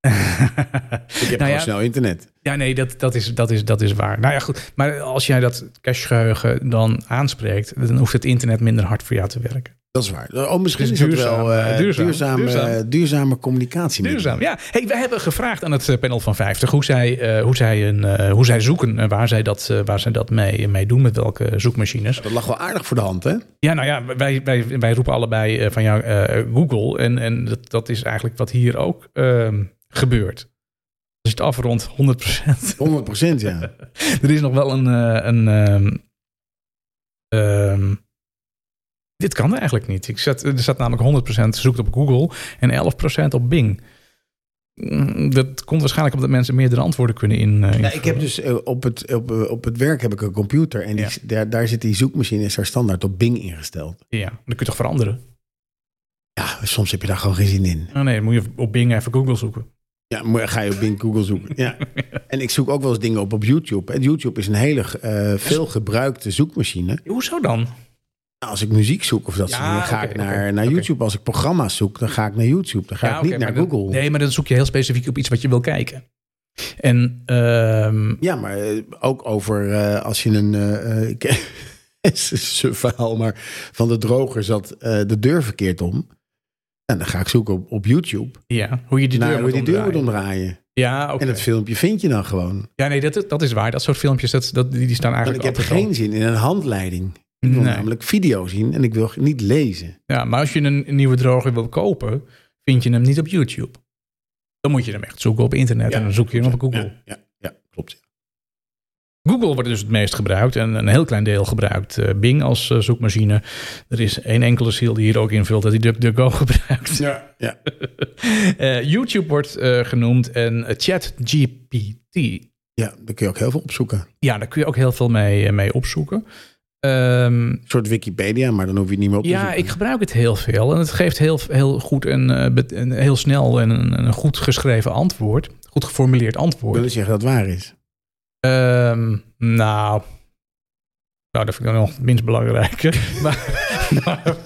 Speaker 2: Ik heb
Speaker 1: Nou
Speaker 2: gewoon
Speaker 1: ja.
Speaker 2: snel internet.
Speaker 1: Ja, nee, dat, dat, is, dat, is, dat is waar. Nou ja, goed. Maar als jij dat cachegeheugen dan aanspreekt, dan hoeft het internet minder hard voor jou te werken.
Speaker 2: Dat is waar. Oh, misschien
Speaker 1: Het
Speaker 2: is,
Speaker 1: is
Speaker 2: dat wel
Speaker 1: duurzaam,
Speaker 2: eh,
Speaker 1: eh, duurzaam.
Speaker 2: duurzame,
Speaker 1: Duurzaam.
Speaker 2: duurzame communicatie.
Speaker 1: Duurzaam, ja. Hey, we hebben gevraagd aan het eh, panel van 50 hoe zij, eh, hoe zij, een, eh, hoe zij zoeken en waar zij dat, eh, waar zij dat mee, mee doen, met welke zoekmachines.
Speaker 2: Dat lag wel aardig voor de hand, hè?
Speaker 1: Ja, nou ja, wij, wij, wij roepen allebei eh, van jou eh, Google en, en dat, dat is eigenlijk wat hier ook ehm, gebeurt. Als je het afrondt, 100%.
Speaker 2: 100 procent, ja.
Speaker 1: er is nog wel een... eh, een ehm, ehm, dit kan eigenlijk niet. Ik zat, er staat namelijk 100% zoekt op Google en 11% op Bing. Mm, Dat komt waarschijnlijk omdat mensen meerdere antwoorden kunnen in. eh,
Speaker 2: ja ik
Speaker 1: invullen.
Speaker 2: heb dus eh, op het, op, eh, op het werk heb ik een computer. En die,
Speaker 1: Ja.
Speaker 2: daar, daar zit die zoekmachine is daar standaard op Bing ingesteld.
Speaker 1: Ja, maar dat kun je toch veranderen? Eh,
Speaker 2: Ja, soms heb je daar gewoon geen zin in.
Speaker 1: Oh nee, dan moet je op Bing even Google zoeken.
Speaker 2: Ja, maar ga je op Bing Google zoeken. Ja. En ik zoek ook wel eens dingen op op YouTube. En YouTube is een hele eh veel gebruikte zoekmachine.
Speaker 1: Hoezo dan?
Speaker 2: Nou, als ik muziek zoek of dat
Speaker 1: Ja,
Speaker 2: soort dingen, ga ik
Speaker 1: oké,
Speaker 2: naar,
Speaker 1: oké,
Speaker 2: naar
Speaker 1: oké.
Speaker 2: YouTube. Als ik programma's zoek, dan ga ik naar YouTube. Dan ga ik
Speaker 1: oké,
Speaker 2: niet
Speaker 1: maar
Speaker 2: naar
Speaker 1: dan-
Speaker 2: Google.
Speaker 1: nee, maar dan zoek je heel specifiek op iets wat je wil kijken. En ehm,
Speaker 2: Ja, maar eh, ook over eh, als je een... eh, eh, ik- het is een suf verhaal, maar van de droger zat eh, de deur verkeerd om. En dan ga ik zoeken op, op YouTube
Speaker 1: ja, hoe je die deur
Speaker 2: naar Nou, hoe
Speaker 1: moet
Speaker 2: die deur
Speaker 1: omdraaien.
Speaker 2: moet omdraaien.
Speaker 1: Ja, oké.
Speaker 2: En dat filmpje vind je dan gewoon.
Speaker 1: ja, nee, dat, dat is waar. Dat soort filmpjes, dat, dat, die die staan
Speaker 2: Want
Speaker 1: eigenlijk
Speaker 2: ik heb
Speaker 1: altijd al.
Speaker 2: geen zin in een handleiding. Ik wil
Speaker 1: Nee.
Speaker 2: namelijk video zien en ik wil niet lezen.
Speaker 1: Ja, maar als je een, een nieuwe droger wil kopen, vind je hem niet op YouTube. Dan moet je hem echt zoeken op internet
Speaker 2: Ja,
Speaker 1: en dan zoek je hem op Google.
Speaker 2: Ja, ja, ja, klopt.
Speaker 1: Google wordt dus het meest gebruikt en een heel klein deel gebruikt eh, Bing als eh, zoekmachine. Er is één enkele ziel die hier ook invult dat hij DuckDuckGo gebruikt.
Speaker 2: Ja, ja.
Speaker 1: Eh, YouTube wordt eh, genoemd en eh, ChatGPT.
Speaker 2: ja, daar kun je ook heel veel opzoeken.
Speaker 1: Ja, daar kun je ook heel veel mee, eh, mee opzoeken. Ehm,
Speaker 2: Een soort Wikipedia, maar dan hoef je Dus het niet meer op te
Speaker 1: ja,
Speaker 2: zoeken.
Speaker 1: ik gebruik het heel veel en het geeft heel, heel goed en eh, bet- en heel snel en een, een goed geschreven antwoord. Goed geformuleerd
Speaker 2: wil
Speaker 1: antwoord.
Speaker 2: je zeggen dat het waar is.
Speaker 1: Ehm, nou, Nou, dat vind ik dan nog het minst belangrijke. maar, maar-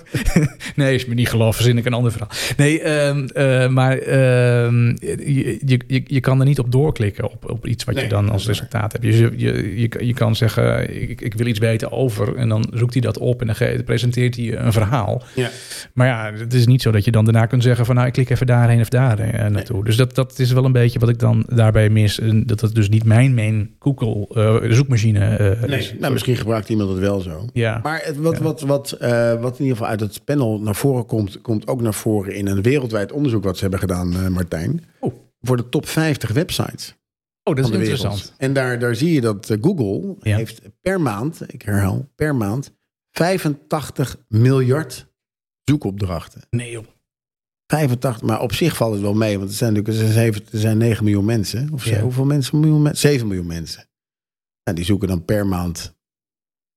Speaker 1: nee, is me niet geloof, verzin ik een ander verhaal. Nee, ehm, eh, maar ehm, je, je, je, je kan er niet op doorklikken op, op iets wat je
Speaker 2: Nee,
Speaker 1: dan
Speaker 2: dat
Speaker 1: als
Speaker 2: is waar.
Speaker 1: resultaat hebt. Dus je, je, je, je kan zeggen, ik, ik wil iets weten over. En dan zoekt hij dat op en dan ge- presenteert hij een verhaal.
Speaker 2: Ja.
Speaker 1: Maar ja, het is niet zo dat je dan daarna kunt zeggen van nou, ik klik even daarheen of daarheen eh, naartoe. Dus dat, dat is wel een beetje wat ik dan daarbij mis. En Dat dat dus niet mijn main Google eh, zoekmachine eh, is.
Speaker 2: Nee, nou, misschien gebruikt iemand het wel zo.
Speaker 1: Ja.
Speaker 2: Maar het, wat, wat, wat, eh, wat in ieder geval uit het panel naar voren komt, komt ook naar voren in een wereldwijd onderzoek wat ze hebben gedaan, eh, Martijn.
Speaker 1: Oh.
Speaker 2: Voor de top 50 websites
Speaker 1: oh, dat is
Speaker 2: van de wereld.
Speaker 1: interessant.
Speaker 2: En daar, daar zie je dat eh, Google
Speaker 1: Ja.
Speaker 2: heeft per maand, ik herhaal, per maand 85 miljard zoekopdrachten.
Speaker 1: Nee joh.
Speaker 2: 85, maar op zich valt het wel mee, want er zijn natuurlijk er zijn, zeven- er zijn 9 miljoen mensen. Of zo,
Speaker 1: Ja.
Speaker 2: hoeveel mensen? Een Miljoen, men- 7 miljoen mensen. Nou, die zoeken dan per maand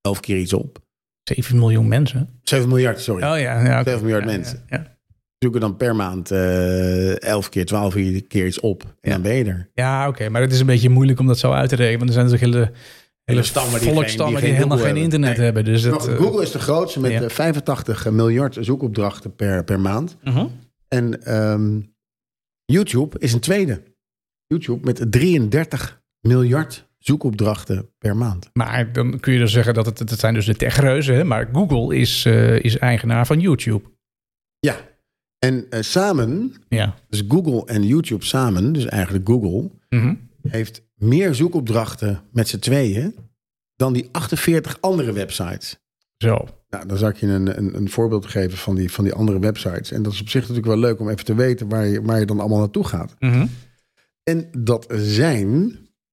Speaker 2: 11 keer iets op.
Speaker 1: 7 miljoen mensen.
Speaker 2: 7 miljard, sorry.
Speaker 1: Oh ja, ja. oké.
Speaker 2: 7 miljard
Speaker 1: Ja,
Speaker 2: mensen.
Speaker 1: Ja, ja.
Speaker 2: Zoeken dan per maand eh 11 keer, 12 keer iets op. En
Speaker 1: Ja.
Speaker 2: dan ben je er.
Speaker 1: Ja, oké, maar het is een beetje moeilijk om dat zo uit te rekenen. Want er zijn natuurlijk hele, hele
Speaker 2: stammen die geen-
Speaker 1: volkstammen
Speaker 2: die
Speaker 1: die,
Speaker 2: geen
Speaker 1: helemaal
Speaker 2: Google
Speaker 1: geen
Speaker 2: hebben.
Speaker 1: internet
Speaker 2: Nee.
Speaker 1: hebben. Dus dat,
Speaker 2: Maar
Speaker 1: eh,
Speaker 2: goed, Google is de grootste met
Speaker 1: ja.
Speaker 2: eh, 85 miljard zoekopdrachten per, per maand.
Speaker 1: mhm.
Speaker 2: En ehm, YouTube is een tweede. YouTube met 33 miljard zoekopdrachten per maand.
Speaker 1: Maar dan kun je dus zeggen dat het, het zijn dus de techreuzen. hè, Maar Google is, eh, is eigenaar van YouTube.
Speaker 2: Ja. En eh, samen,
Speaker 1: Ja.
Speaker 2: dus Google en YouTube samen, dus eigenlijk Google,
Speaker 1: Mhm.
Speaker 2: heeft meer zoekopdrachten met z'n tweeën dan die 48 andere websites.
Speaker 1: Zo.
Speaker 2: Nou, dan zal ik je een, een, een voorbeeld geven van die, van die andere websites. En dat is op zich natuurlijk wel leuk om even te weten waar je, waar je dan allemaal naartoe gaat.
Speaker 1: Mhm.
Speaker 2: En dat zijn,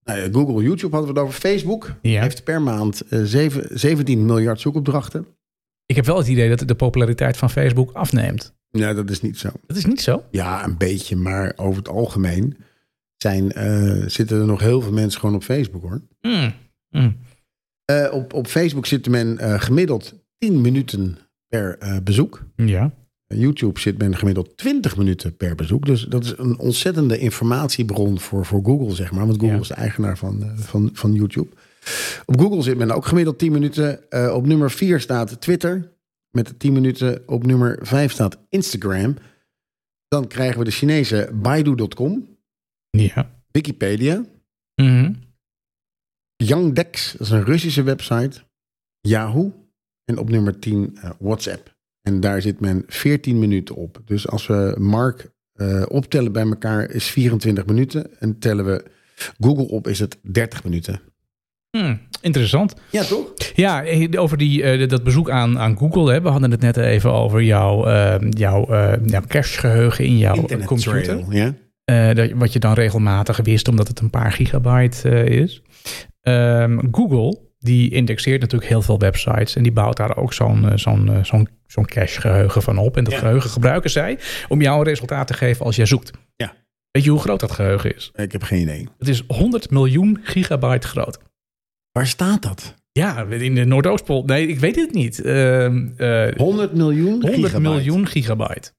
Speaker 2: nou ja, Google, YouTube hadden we het over. Facebook
Speaker 1: Ja.
Speaker 2: heeft per maand eh, zeven- 17 miljard zoekopdrachten.
Speaker 1: Ik heb wel het idee dat de populariteit van Facebook afneemt.
Speaker 2: Nee, dat is niet zo.
Speaker 1: Dat is niet zo.
Speaker 2: Ja, een beetje, maar over het algemeen zijn, eh, zitten er nog heel veel mensen gewoon op Facebook hoor.
Speaker 1: Mm. Mm.
Speaker 2: Eh, op, op Facebook zit men eh, gemiddeld 10 minuten per eh, bezoek.
Speaker 1: Ja.
Speaker 2: YouTube zit men gemiddeld 20 minuten per bezoek. Dus dat is een ontzettende informatiebron voor, voor Google, zeg maar. Want Google
Speaker 1: Ja.
Speaker 2: is de eigenaar van, eh, van, van YouTube. Op Google zit men ook gemiddeld 10 minuten. Eh, op nummer 4 staat Twitter met 10 minuten. Op nummer 5 staat Instagram. Dan krijgen we de Chinese Baidu.com,
Speaker 1: Ja.
Speaker 2: Wikipedia,
Speaker 1: Mhm.
Speaker 2: Yandex, dat is een Russische website, Yahoo en op nummer 10 eh, WhatsApp. En daar zit men 14 minuten op. Dus als we Mark eh, optellen bij elkaar is 24 minuten en tellen we Google op is het 30 minuten.
Speaker 1: Mm. Interessant.
Speaker 2: Ja, toch?
Speaker 1: Ja, eh, over die, eh, dat bezoek aan, aan Google. Hè. We hadden het net even over jouw, eh, jouw, eh, jouw cachegeheugen in jouw computer.
Speaker 2: ja.
Speaker 1: Eh, dat, wat je dan regelmatig wist, omdat het een paar gigabyte eh, is. Ehm, Google, die indexeert natuurlijk heel veel websites. En die bouwt daar ook zo'n eh, zo'n eh, zo'n zo'n cache geheugen van op. En dat
Speaker 2: Ja.
Speaker 1: geheugen gebruiken zij om jou een resultaat te geven als jij zoekt.
Speaker 2: Ja.
Speaker 1: Weet je hoe groot dat geheugen is?
Speaker 2: Ik heb geen idee.
Speaker 1: Het is 100 miljoen gigabyte groot.
Speaker 2: Waar staat dat?
Speaker 1: Ja, in de Noordoostpol. Nee, ik weet het niet. Ehm, eh,
Speaker 2: 100 miljoen
Speaker 1: 100
Speaker 2: gigabyte.
Speaker 1: miljoen gigabyte.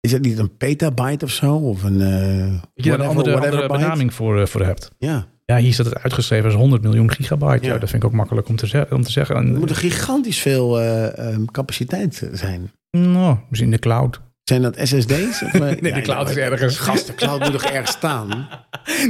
Speaker 2: Is dat niet een petabyte of zo? Of een, eh
Speaker 1: Dat je daar een
Speaker 2: whatever-
Speaker 1: andere,
Speaker 2: whatever
Speaker 1: andere
Speaker 2: byte?
Speaker 1: benaming voor, eh, voor hebt.
Speaker 2: Ja.
Speaker 1: Ja, hier staat het uitgeschreven als 100 miljoen gigabyte. Ja.
Speaker 2: Ja.
Speaker 1: dat vind ik ook makkelijk om te, ze- om te zeggen. En,
Speaker 2: Er moet er gigantisch veel eh, ehm, capaciteit zijn.
Speaker 1: nou, misschien de cloud.
Speaker 2: Zijn dat SSD's? Of, eh,
Speaker 1: Nee,
Speaker 2: ja,
Speaker 1: de cloud
Speaker 2: nou,
Speaker 1: is ergens.
Speaker 2: Gast, de cloud moet toch ergens staan?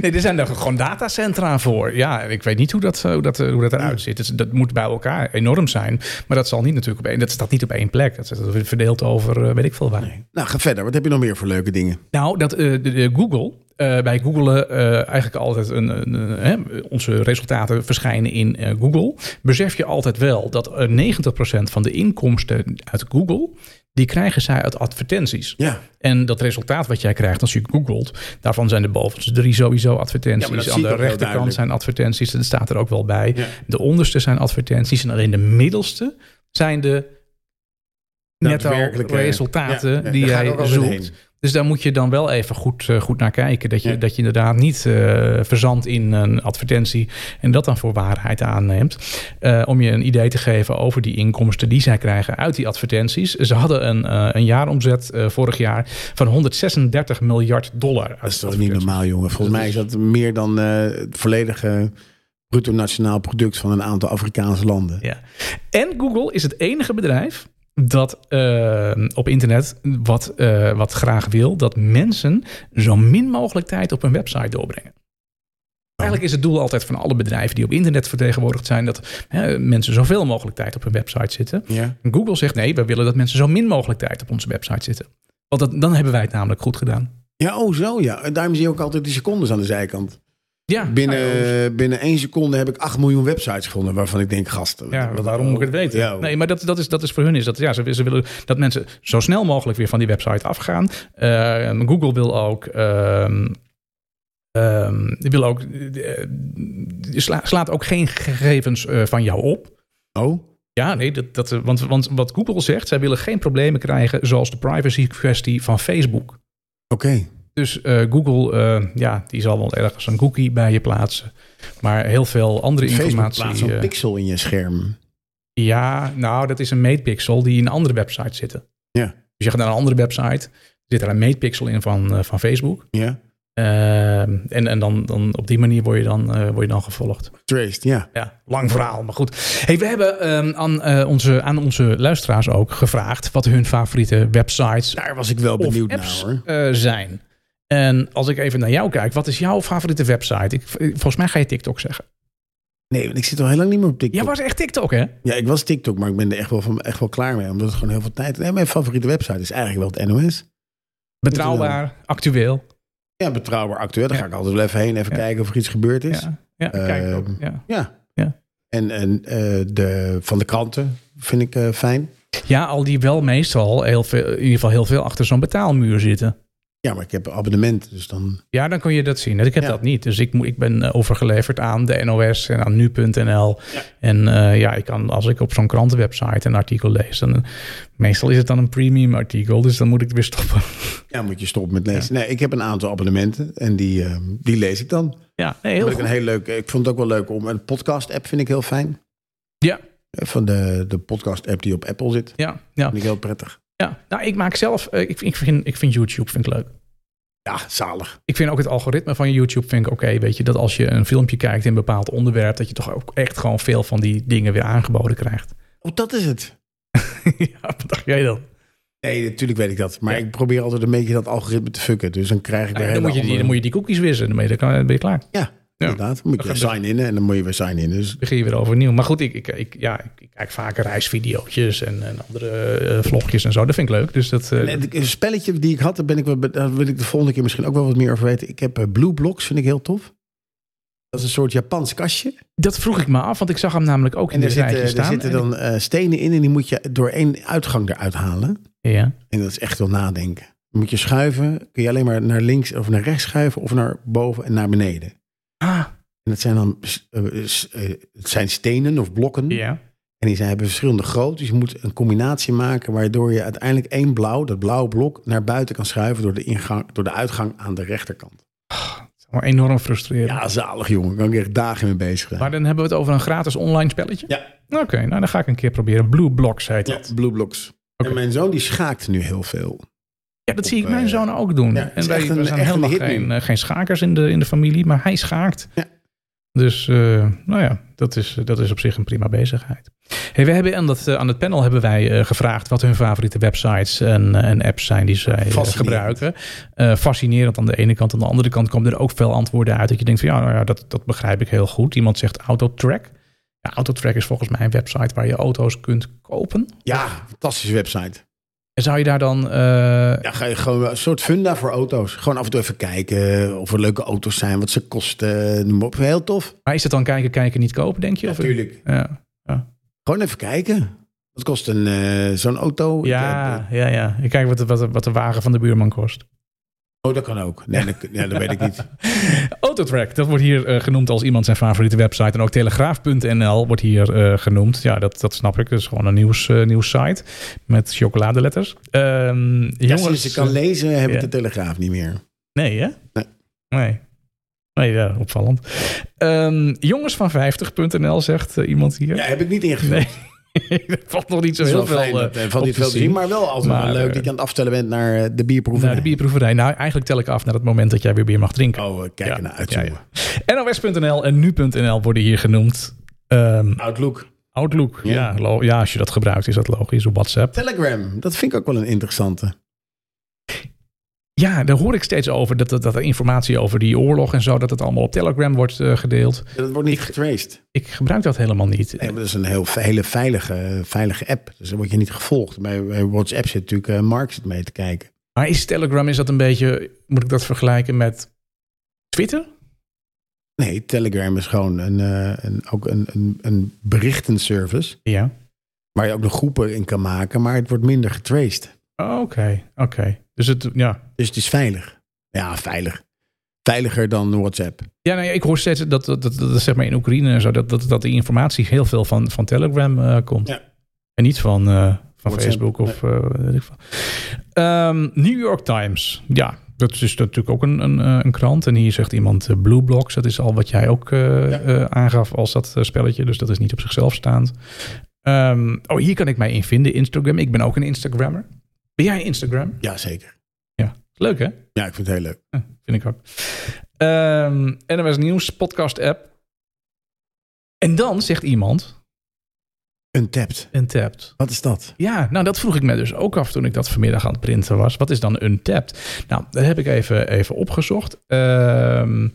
Speaker 1: Nee, er zijn er gewoon datacentra voor. Ja, en ik weet niet hoe dat, eh, hoe dat, hoe dat eruit zit. Dus dat moet bij elkaar enorm zijn. Maar dat zal niet natuurlijk op één, dat staat niet op één plek. Dat is dat is verdeeld over eh, weet ik veel waar.
Speaker 2: Nou, ga verder. Wat heb je nog meer voor leuke dingen?
Speaker 1: Nou, dat eh, de, de Google. eh, wij googelen eh, eigenlijk altijd een, een, een- hè, onze resultaten verschijnen in eh, Google. Besef je altijd wel dat eh, 90% van de inkomsten uit Google, die krijgen zij uit advertenties.
Speaker 2: Ja,
Speaker 1: En dat resultaat wat jij krijgt als je googelt, daarvan zijn de bovenste drie sowieso
Speaker 2: Ja, maar
Speaker 1: advertenties.
Speaker 2: dat
Speaker 1: Aan
Speaker 2: zie ik
Speaker 1: de
Speaker 2: ook heel
Speaker 1: rechterkant
Speaker 2: duidelijk.
Speaker 1: zijn advertenties, dat staat er ook wel bij.
Speaker 2: Ja.
Speaker 1: De onderste zijn advertenties en alleen de middelste zijn de netto
Speaker 2: Daadwerkelijke-
Speaker 1: resultaten
Speaker 2: Ja, ja,
Speaker 1: die
Speaker 2: daar gaat
Speaker 1: jij
Speaker 2: ook altijd heen.
Speaker 1: zoekt. Dus daar moet je dan wel even goed, eh, goed naar kijken. Dat je,
Speaker 2: Ja.
Speaker 1: dat je inderdaad niet eh, verzandt in een advertentie en dat dan voor waarheid aanneemt. Eh, om je een idee te geven over die inkomsten die zij krijgen uit die advertenties. Ze hadden een, eh, een jaaromzet eh, vorig jaar van 136 miljard dollar.
Speaker 2: dat is toch niet normaal, jongen. Volgens mij is dat meer dan eh, het volledige bruto nationaal product van een aantal Afrikaanse landen.
Speaker 1: Ja. En Google is het enige bedrijf dat eh, op internet wat, eh, wat graag wil dat mensen zo min mogelijk tijd op hun website doorbrengen. Eigenlijk is het doel altijd van alle bedrijven die op internet vertegenwoordigd zijn dat hè, mensen zoveel mogelijk tijd op hun website zitten.
Speaker 2: Ja.
Speaker 1: En Google zegt nee, we willen dat mensen zo min mogelijk tijd op onze website zitten. Want dat, dan hebben wij het namelijk goed gedaan.
Speaker 2: ja, oh zo ja. En Daarom zie je ook altijd die secondes aan de zijkant.
Speaker 1: Ja, nou ja,
Speaker 2: Binnen, binnen één seconde heb ik 8 miljoen websites gevonden waarvan ik denk, gasten.
Speaker 1: Ja,
Speaker 2: wat-
Speaker 1: waarom moet ik het weten?
Speaker 2: Ja.
Speaker 1: nee, maar dat, dat, is, dat is voor hun is dat ja, ze, ze willen dat mensen zo snel mogelijk weer van die website afgaan. Ehm, Google wil ook. ehm, ehm, die wil ook eh, die sla- slaat ook geen gegevens eh, van jou op.
Speaker 2: Oh,
Speaker 1: Ja, nee, dat, dat, eh, want, want wat Google zegt, zij willen geen problemen krijgen zoals de privacy kwestie van Facebook.
Speaker 2: oké.
Speaker 1: Dus eh, Google, eh, ja, die zal wel ergens een cookie bij je plaatsen. Maar heel veel andere
Speaker 2: Facebook
Speaker 1: informatie.
Speaker 2: plaatst een
Speaker 1: eh,
Speaker 2: pixel in je scherm.
Speaker 1: ja, nou, dat is een meetpixel die in een andere website zitten.
Speaker 2: Ja.
Speaker 1: Dus je gaat naar een andere website, zit er een meetpixel in van, eh, van Facebook.
Speaker 2: Ja.
Speaker 1: Ehm, en en dan, dan op die manier word je dan, eh, word je dan gevolgd.
Speaker 2: Traced, ja.
Speaker 1: Ja, lang verhaal, maar goed. Hey, we hebben ehm, aan, eh, onze, aan onze luisteraars ook gevraagd wat hun favoriete websites
Speaker 2: Daar was ik wel
Speaker 1: of
Speaker 2: benieuwd naar
Speaker 1: apps
Speaker 2: hoor.
Speaker 1: eh, zijn. En als ik even naar jou kijk, wat is jouw favoriete website? Ik, volgens mij ga je TikTok zeggen.
Speaker 2: Nee, want ik zit al heel lang niet meer op TikTok.
Speaker 1: Jij was echt TikTok, hè?
Speaker 2: Ja, ik was TikTok, maar ik ben er echt wel, van, echt wel klaar mee. Omdat het gewoon heel veel tijd... Nee, mijn favoriete website is eigenlijk wel het NOS.
Speaker 1: Betrouwbaar, actueel.
Speaker 2: Ja, betrouwbaar, actueel. Daar
Speaker 1: Ja.
Speaker 2: ga ik altijd wel even heen. Even
Speaker 1: Ja.
Speaker 2: kijken of er iets gebeurd is. Ja.
Speaker 1: Ja, ja kijk ook.
Speaker 2: Ehm,
Speaker 1: Ja. Ja.
Speaker 2: Ja. En, en eh, de, van de kranten vind ik eh, fijn.
Speaker 1: Ja, al die wel meestal heel veel, in ieder geval heel veel achter zo'n betaalmuur zitten.
Speaker 2: Ja, maar ik heb een abonnement, dus dan...
Speaker 1: Ja, dan kun je dat zien. Ik heb
Speaker 2: Ja.
Speaker 1: dat niet. Dus ik, moet- ik ben eh, overgeleverd aan de NOS en aan nu.nl. En eh, ja, ik kan, als ik op zo'n krantenwebsite een artikel lees, dan meestal is het dan een premium artikel. Dus dan moet ik het weer stoppen.
Speaker 2: Ja, moet je stoppen met lezen. Nee, ik heb een aantal abonnementen en die, eh, die lees ik dan.
Speaker 1: Ja, nee, heel
Speaker 2: Heel ik, een
Speaker 1: goed.
Speaker 2: heel leuk, ik vond het ook wel leuk om... Een podcast-app vind ik heel fijn.
Speaker 1: Ja.
Speaker 2: Eh, Van de, de podcast-app die op Apple zit.
Speaker 1: Ja, ja,
Speaker 2: Vind ik heel prettig.
Speaker 1: ja. Nou, ik maak zelf, eh, ik, ik, vind, ik vind YouTube vind ik leuk.
Speaker 2: Ja, zalig.
Speaker 1: Ik vind ook het algoritme van YouTube vind ik oké. weet je, dat als je een filmpje kijkt in een bepaald onderwerp, dat je toch ook echt gewoon veel van die dingen weer aangeboden krijgt.
Speaker 2: Oh, dat is het.
Speaker 1: ja, wat dacht jij dan?
Speaker 2: Nee, natuurlijk weet ik dat. Maar
Speaker 1: Ja.
Speaker 2: ik probeer altijd een beetje dat algoritme te fucken. Dus dan krijg ik daar
Speaker 1: Ja, dan,
Speaker 2: hele
Speaker 1: moet je die,
Speaker 2: andere-
Speaker 1: dan moet je die cookies wissen. Dan ben je, dan ben je klaar.
Speaker 2: Ja, inderdaad. Dan moet je
Speaker 1: Dan gaat
Speaker 2: sign in en dan moet je weer sign in. Dus
Speaker 1: Dan begin je weer overnieuw. Maar goed, ik, ik, ik, ja, ik, ik kijk vaak reisvideootjes en, en andere eh, vlogjes en zo. Dat vind ik leuk. Dus dat, eh,
Speaker 2: En het- een spelletje die ik had, daar, ben ik wel, be- daar wil ik de volgende keer misschien ook wel wat meer over weten. Ik heb eh, Blue Blocks, vind ik heel tof. Dat is een soort Japans kastje.
Speaker 1: dat vroeg ik me af, want ik zag hem namelijk ook
Speaker 2: En
Speaker 1: in
Speaker 2: daar
Speaker 1: dit rijtje
Speaker 2: zitten, daar
Speaker 1: staan.
Speaker 2: zitten dan eh, stenen in en die moet je door één uitgang eruit halen.
Speaker 1: Ja.
Speaker 2: En dat is echt wel nadenken. Dan moet je schuiven, kun je alleen maar naar links of naar rechts schuiven of naar boven en naar beneden.
Speaker 1: Ah,
Speaker 2: En dat zijn dan eh, s- eh, het zijn stenen of blokken.
Speaker 1: ja.
Speaker 2: En die zijn, hebben verschillende groottes. Dus je moet een combinatie maken waardoor je uiteindelijk één blauw, dat blauwe blok, naar buiten kan schuiven door de, ingang, door de uitgang aan de rechterkant.
Speaker 1: Maar enorm frustrerend.
Speaker 2: Ja, zalig jongen. Daar kan ik echt dagen mee bezig zijn.
Speaker 1: Maar dan hebben we het over een gratis online spelletje?
Speaker 2: Ja.
Speaker 1: Oké, nou dan ga ik een keer proberen. Blue Blocks heet dat.
Speaker 2: Blue Blocks.
Speaker 1: Oké.
Speaker 2: En mijn zoon die schaakt nu heel veel.
Speaker 1: Ja, dat zie ik
Speaker 2: Op,
Speaker 1: mijn
Speaker 2: eh,
Speaker 1: zoon ook doen.
Speaker 2: ja, het
Speaker 1: en
Speaker 2: is
Speaker 1: wij
Speaker 2: echt een-
Speaker 1: we zijn
Speaker 2: echt een
Speaker 1: helemaal
Speaker 2: hit nu.
Speaker 1: geen, eh, geen schakers in de, in de familie, maar hij schaakt.
Speaker 2: Ja.
Speaker 1: Dus eh, nou ja, dat is, dat is op zich een prima bezigheid. Hey, we hebben aan, dat, eh, aan het panel hebben wij eh, gevraagd wat hun favoriete websites en, eh, en apps zijn die zij eh,
Speaker 2: Fascinerend.
Speaker 1: gebruiken. Eh, fascinerend aan de ene kant. Aan de andere kant komen er ook veel antwoorden uit. Dat je denkt van ja, nou ja dat, dat begrijp ik heel goed. Iemand zegt Autotrack. Ja, Autotrack is volgens mij een website waar je auto's kunt kopen.
Speaker 2: Ja, fantastische website.
Speaker 1: En zou je daar dan... eh,
Speaker 2: Ja, ga je gewoon een soort funda voor auto's. Gewoon af en toe even kijken of er leuke auto's zijn, wat ze kosten. Noem maar op. Heel tof.
Speaker 1: Maar is het dan kijken, kijken, niet kopen, denk je? Of-
Speaker 2: Natuurlijk.
Speaker 1: Ja.
Speaker 2: Gewoon even kijken. Wat kost een, eh, zo'n auto? Ik heb,
Speaker 1: Ja, ja, ja. Ik kijk wat de, wat, de, wat de wagen van de buurman kost.
Speaker 2: Oh, dat kan ook. Nee, dat, ja, dat weet ik niet.
Speaker 1: Autotrack, dat wordt hier eh, genoemd als iemand zijn favoriete website. En ook telegraaf.nl wordt hier eh, genoemd. Ja, dat, dat snap ik. Dat is gewoon een nieuws, eh, nieuwssite met chocoladeletters. Ehm
Speaker 2: Ja,
Speaker 1: jongens,
Speaker 2: sinds ik kan lezen, heb
Speaker 1: ja.
Speaker 2: ik de Telegraaf niet meer.
Speaker 1: Nee, hè?
Speaker 2: Nee.
Speaker 1: Nee. Nee, ja, opvallend. Ehm, jongens van 50.nl zegt eh, iemand hier.
Speaker 2: Ja, heb ik niet ingevuld.
Speaker 1: Nee. dat valt nog niet zo
Speaker 2: is
Speaker 1: heel
Speaker 2: wel
Speaker 1: veel
Speaker 2: fijn.
Speaker 1: eh,
Speaker 2: eh, van
Speaker 1: op
Speaker 2: niet
Speaker 1: te
Speaker 2: veel te
Speaker 1: zien.
Speaker 2: zien, maar wel altijd wel
Speaker 1: Maar,
Speaker 2: leuk
Speaker 1: eh,
Speaker 2: dat je aan het aftellen bent naar eh, de bierproeverij.
Speaker 1: Naar de bierproeverij. Nou, eigenlijk tel ik af naar het moment dat jij weer bier mag drinken.
Speaker 2: Oh, we kijken
Speaker 1: Ja,
Speaker 2: naar uit,
Speaker 1: ja, ja.
Speaker 2: jongen.
Speaker 1: NOS.nl en nu.nl worden hier genoemd. Ehm,
Speaker 2: Outlook.
Speaker 1: Outlook, ja.
Speaker 2: Ja.
Speaker 1: lo- ja, als je dat gebruikt is dat logisch. Op WhatsApp.
Speaker 2: Telegram, dat vind ik ook wel een interessante.
Speaker 1: Ja, daar hoor ik steeds over. Dat, dat, dat er informatie over die oorlog en zo, dat het allemaal op Telegram wordt eh, gedeeld.
Speaker 2: Dat wordt niet getraced.
Speaker 1: Ik gebruik dat helemaal niet.
Speaker 2: Nee, maar dat is een heel, hele veilige, veilige app. Dus dan word je niet gevolgd. Bij, bij WhatsApp zit natuurlijk eh, Mark zit mee te kijken.
Speaker 1: Maar is Telegram, is dat een beetje, moet ik dat vergelijken met Twitter?
Speaker 2: Nee, Telegram is gewoon een, eh, een, ook een, een, een berichtenservice.
Speaker 1: Ja.
Speaker 2: Waar je ook nog groepen in kan maken, maar het wordt minder getraced.
Speaker 1: Oké, oké. Dus het, ja.
Speaker 2: Dus het is veilig. Ja, veilig. Veiliger dan WhatsApp.
Speaker 1: Ja, nou ja, ik hoor steeds dat, dat, dat, dat, zeg maar in Oekraïne en zo, dat, dat, dat die informatie heel veel van, van Telegram eh, komt.
Speaker 2: Ja.
Speaker 1: En niet van, eh, van
Speaker 2: WhatsApp,
Speaker 1: Facebook of eh, weet ik veel. Ehm, New York Times, ja. Dat is natuurlijk ook een, een, eh, een krant. En hier zegt iemand eh, Blue Blocks. Dat is al wat jij ook eh,
Speaker 2: Ja.
Speaker 1: eh, aangaf als dat eh, spelletje. Dus dat is niet op zichzelf staand. Ehm, oh, hier kan ik mij in vinden. Instagram. Ik ben ook een Instagrammer. Ben jij een Instagram?
Speaker 2: Jazeker.
Speaker 1: Leuk hè?
Speaker 2: Ja, ik vind het heel leuk.
Speaker 1: Ja, vind ik ook. Ehm NMS Nieuws, podcast app. En dan zegt iemand,
Speaker 2: Untapped.
Speaker 1: untapped.
Speaker 2: Wat is dat?
Speaker 1: Ja, nou dat vroeg ik me dus ook af toen ik dat vanmiddag aan het printen was. Wat is dan untapped? Nou, dat heb ik even, even opgezocht. Ehm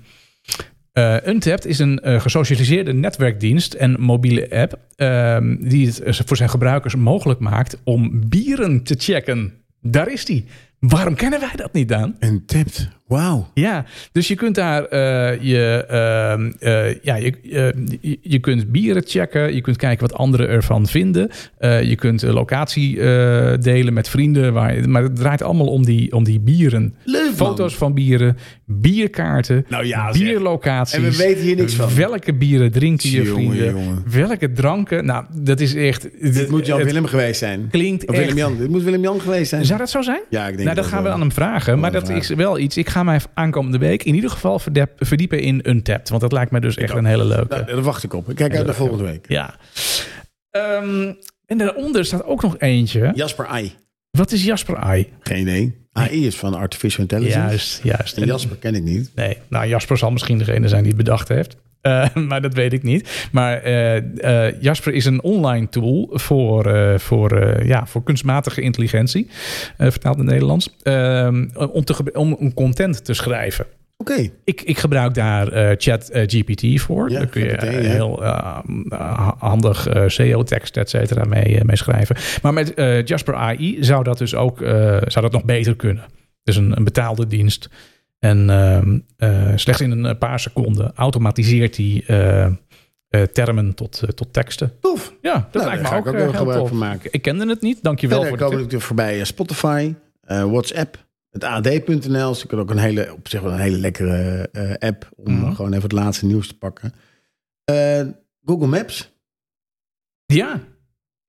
Speaker 1: eh, Untapped is een eh, gesocialiseerde netwerkdienst en mobiele app... ehm, die het eh, voor zijn gebruikers mogelijk maakt om bieren te checken. Daar is die. Waarom kennen wij dat niet, Daan?
Speaker 2: Untapped. Wauw.
Speaker 1: Ja, dus je kunt daar eh, je, ehm, eh, ja, je, eh, je, je kunt bieren checken, je kunt kijken wat anderen ervan vinden, Eh, je kunt eh, locatie eh, delen met vrienden, waar, je- maar het draait allemaal om die, om die bieren.
Speaker 2: Leuk,
Speaker 1: Foto's van bieren, bierkaarten,
Speaker 2: Nou ja, zeg.
Speaker 1: bierlocaties.
Speaker 2: En we weten hier niks van.
Speaker 1: Welke bieren drinken je
Speaker 2: Jongen,
Speaker 1: vrienden?
Speaker 2: jongen.
Speaker 1: Welke dranken? Nou, dat is echt...
Speaker 2: Dit moet
Speaker 1: het
Speaker 2: Jan-Willem geweest zijn.
Speaker 1: Klinkt
Speaker 2: Of
Speaker 1: echt...
Speaker 2: Willem-Jan. Dit moet Willem-Jan geweest zijn.
Speaker 1: Zou dat zo zijn?
Speaker 2: Ja, ik denk
Speaker 1: Nou, dat
Speaker 2: het
Speaker 1: gaan we
Speaker 2: wel.
Speaker 1: aan hem vragen. Maar
Speaker 2: hem
Speaker 1: dat is
Speaker 2: vragen.
Speaker 1: wel iets. Ik ga mij aankomende week in ieder geval verdep- verdiepen in Untapped. Want dat lijkt mij dus echt een hele leuke.
Speaker 2: Nou, daar wacht ik op. Ik kijk uit naar volgende week.
Speaker 1: ja. Ehm, en daaronder staat ook nog eentje.
Speaker 2: Jasper AI.
Speaker 1: Wat is Jasper AI?
Speaker 2: Geen idee. AI is van Artificial Intelligence.
Speaker 1: Juist, juist.
Speaker 2: En
Speaker 1: En-
Speaker 2: Jasper ken ik niet.
Speaker 1: Nee, nou Jasper zal misschien degene zijn die het bedacht heeft. Eh, maar dat weet ik niet. Maar eh, eh, Jasper is een online tool voor, eh, voor, eh, ja, voor kunstmatige intelligentie, eh, vertaald in het Nederlands, Ehm, om, te, ge- om, om content te schrijven.
Speaker 2: Oké.
Speaker 1: Ik, ik gebruik daar eh, ChatGPT voor.
Speaker 2: Ja,
Speaker 1: daar kun je
Speaker 2: GPT,
Speaker 1: eh,
Speaker 2: ja.
Speaker 1: heel eh, eh, handig SEO-tekst, et cetera, mee, eh, mee schrijven. Maar met eh, Jasper AI zou dat dus ook eh, zou dat nog beter kunnen. Dus een, een betaalde dienst. En ehm, eh, slechts in een paar seconden automatiseert hij eh, eh, termen tot, eh, tot teksten.
Speaker 2: Tof. Nou,
Speaker 1: Ja, dat
Speaker 2: daar
Speaker 1: lijkt me
Speaker 2: ga ik
Speaker 1: ook,
Speaker 2: ook
Speaker 1: eh,
Speaker 2: wel
Speaker 1: heel
Speaker 2: gebruik
Speaker 1: tof.
Speaker 2: van maken.
Speaker 1: Ik kende het niet. Dankjewel
Speaker 2: Verder
Speaker 1: voor de
Speaker 2: komen
Speaker 1: tip.
Speaker 2: natuurlijk voorbij eh, Spotify, eh, WhatsApp, het AD.nl. Ze kunnen ook een hele, op zich wel een hele lekkere eh, app om
Speaker 1: Mhm.
Speaker 2: gewoon even het laatste nieuws te pakken. Eh, Google Maps
Speaker 1: Ja,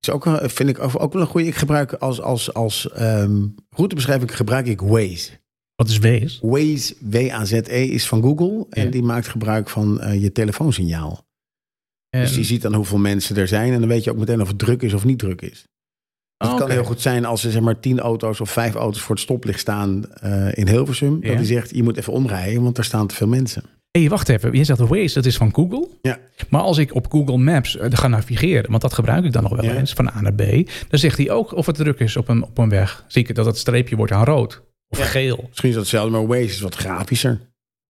Speaker 2: is ook, eh, vind ik ook ook wel een goede. Ik gebruik als, als, als ehm, routebeschrijving gebruik ik Waze.
Speaker 1: wat is Wees?
Speaker 2: Waze, W-A-Z-E, E, is van Google. En
Speaker 1: Ja.
Speaker 2: die maakt gebruik van eh, je telefoonsignaal. Dus die ziet dan hoeveel mensen er zijn. En dan weet je ook meteen of het druk is of niet druk is. Dus
Speaker 1: Ah,
Speaker 2: het kan heel goed zijn als er zeg maar tien auto's of vijf auto's voor het stoplicht staan eh, in Hilversum.
Speaker 1: Ja.
Speaker 2: Dat die zegt, je moet even omrijden, want daar staan te veel mensen.
Speaker 1: Hé, wacht even. Je zegt Waze, dat is van Google.
Speaker 2: Ja.
Speaker 1: Maar als ik op Google Maps eh, ga navigeren, want dat gebruik ik dan nog wel
Speaker 2: Ja.
Speaker 1: eens, van A naar B, dan zegt hij ook of het druk is op een, op een weg. Zie ik dat het streepje wordt aan rood of
Speaker 2: Ja.
Speaker 1: geel.
Speaker 2: Misschien is dat hetzelfde, maar Waze is wat grafischer.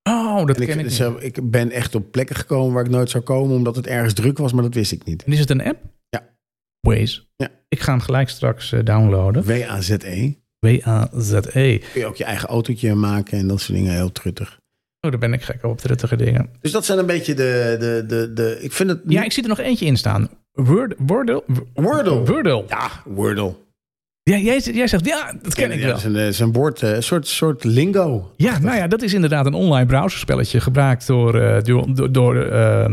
Speaker 1: Oh, dat
Speaker 2: En ik,
Speaker 1: ken ik niet.
Speaker 2: zelf- ik ben echt op plekken gekomen waar ik nooit zou komen, omdat het ergens druk was, maar dat wist ik niet.
Speaker 1: En is het een app?
Speaker 2: Ja.
Speaker 1: Waze.
Speaker 2: Ja.
Speaker 1: Ik ga hem gelijk straks eh, downloaden.
Speaker 2: W-A-Z-E.
Speaker 1: W-A-Z-E.
Speaker 2: E. Kun je ook je eigen autootje maken en dat soort dingen, heel truttig.
Speaker 1: Oh, daar ben ik gek op, truttige dingen.
Speaker 2: Dus dat zijn een beetje de... de, de, de ik vind het... Oh.
Speaker 1: Ja, ik zie er nog eentje in staan. Word, Wordle.
Speaker 2: Wordle.
Speaker 1: Wordle.
Speaker 2: Ja, Wordle.
Speaker 1: Ja, jij, jij zegt, ja, dat ken ik
Speaker 2: Ja,
Speaker 1: wel.
Speaker 2: Dat is een, eh, is een woord, eh, een soort, soort lingo.
Speaker 1: Ja, nou ja, dat is inderdaad een online browserspelletje gebruikt door, eh, door, door, door, eh,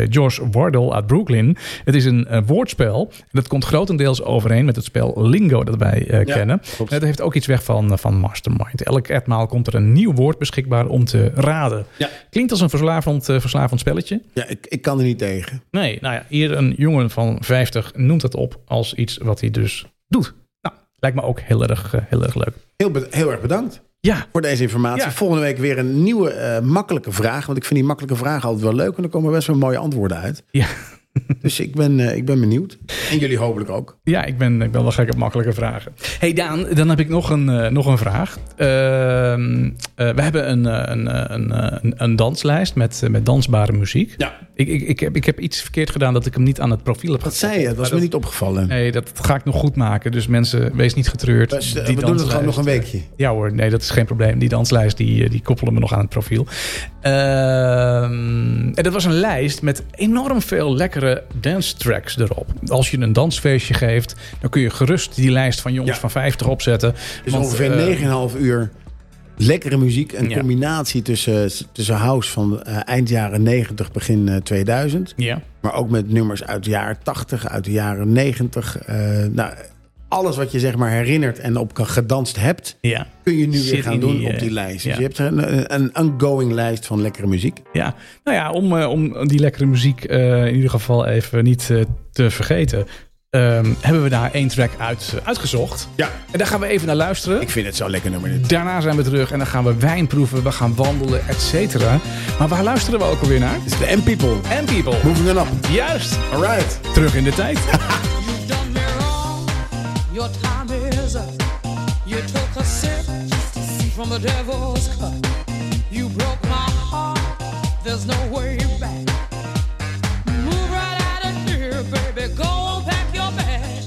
Speaker 1: eh, George Wardle uit Brooklyn. Het is een eh, woordspel. En dat komt grotendeels overeen met het spel Lingo dat wij eh,
Speaker 2: Ja,
Speaker 1: kennen.
Speaker 2: klopt.
Speaker 1: Het heeft ook iets weg van, eh, van Mastermind. Elk etmaal komt er een nieuw woord beschikbaar om te raden.
Speaker 2: Ja.
Speaker 1: Klinkt als een verslavend, eh, verslavend spelletje.
Speaker 2: Ja, ik, ik kan er niet tegen.
Speaker 1: Nee, nou ja, hier een jongen van 50 noemt dat op als iets wat hij dus doet. Nou, lijkt me ook heel erg, eh, heel erg leuk.
Speaker 2: Heel, be- heel erg bedankt
Speaker 1: Ja,
Speaker 2: voor deze informatie.
Speaker 1: Ja.
Speaker 2: Volgende week weer een nieuwe eh, makkelijke vraag. Want ik vind die makkelijke vragen altijd wel leuk. En er komen best wel mooie antwoorden uit.
Speaker 1: ja.
Speaker 2: Dus ik ben, eh, ik ben benieuwd. En jullie hopelijk ook.
Speaker 1: Ja, ik ben, ik ben wel gek op makkelijke vragen. hey Daan, dan heb ik nog een, eh, nog een vraag. Ehm, eh, we hebben een, eh, een, eh, een, eh, een, een danslijst met, eh, met dansbare muziek.
Speaker 2: Ja.
Speaker 1: Ik, ik, ik, heb, ik heb iets verkeerd gedaan dat ik hem niet aan het profiel heb
Speaker 2: Dat
Speaker 1: gezet.
Speaker 2: zei je, dat was me niet opgevallen.
Speaker 1: Nee, dat ga ik nog goed maken. Dus mensen, wees niet getreurd.
Speaker 2: Dus, eh,
Speaker 1: Die
Speaker 2: we doen het
Speaker 1: danslijst,
Speaker 2: gewoon nog een
Speaker 1: eh,
Speaker 2: weekje.
Speaker 1: ja hoor, nee, dat is geen probleem. Die danslijst, die, eh, die koppelen we nog aan het profiel. Ehm, en dat was een lijst met enorm veel lekkere dance tracks erop. Als je een dansfeestje geeft, dan kun je gerust die lijst van jongens
Speaker 2: Ja.
Speaker 1: van 50 opzetten.
Speaker 2: Dus
Speaker 1: Want, eh,
Speaker 2: ongeveer 9,5 uur lekkere muziek. Een
Speaker 1: Ja.
Speaker 2: combinatie tussen, tussen house van eh, eind jaren 90, begin eh, 2000.
Speaker 1: Ja,
Speaker 2: Maar ook met nummers uit de jaren 80, uit de jaren 90. eh, nou, alles wat je zeg maar herinnert en op kan gedanst hebt,
Speaker 1: ja,
Speaker 2: kun je nu
Speaker 1: Zit
Speaker 2: weer gaan
Speaker 1: in
Speaker 2: doen
Speaker 1: die,
Speaker 2: op die
Speaker 1: eh,
Speaker 2: lijst.
Speaker 1: ja.
Speaker 2: Dus je hebt een, een ongoing lijst van lekkere muziek.
Speaker 1: ja. Nou ja, om, eh, om die lekkere muziek eh, in ieder geval even niet eh, te vergeten... ehm, hebben we daar één track uit, eh, uitgezocht.
Speaker 2: Ja.
Speaker 1: En daar gaan we even naar luisteren.
Speaker 2: Ik vind het zo'n lekker nummer. dit.
Speaker 1: Daarna zijn we terug en dan gaan we wijn proeven, we gaan wandelen, et cetera. Maar waar luisteren we ook alweer naar?
Speaker 2: Het is de M-People.
Speaker 1: And People.
Speaker 2: Moving on up.
Speaker 1: Juist,
Speaker 2: Alright.
Speaker 1: terug in de tijd.
Speaker 3: You've done me wrong. Your time is up. You took a sip from the devil's cup. You broke my heart. There's no way back. Move right out of here, baby. Go and pack your bags.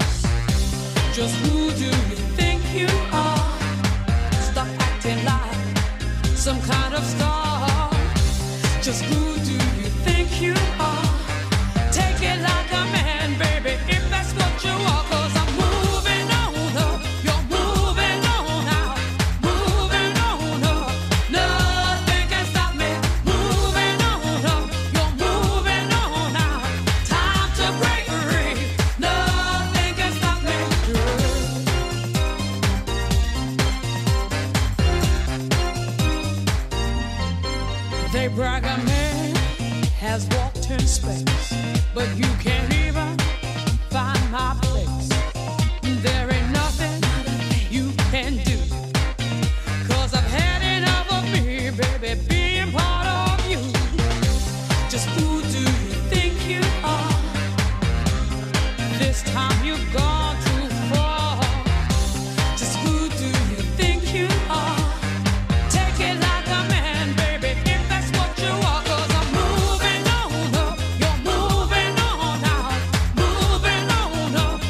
Speaker 3: Just who do you think you are? Stop acting like some kind of star. Just who do you think you are? Take it like a man, baby, if that's what you are. Cause I'm moving on up, you're moving on out. Moving on up, nothing can stop me. Moving on up, you're moving on out. Time to break free, nothing can stop me. Girl. They brag a man has walked in space, but you can't even find my place. There ain't nothing you can do. Cause I've had enough of me, baby, being part of you. Just who do you think you are? This time you've gone too far. Just who do you think you are? Take it like a man, baby, if that's what you are. Cause I'm moving on up, you're moving on out, moving on up.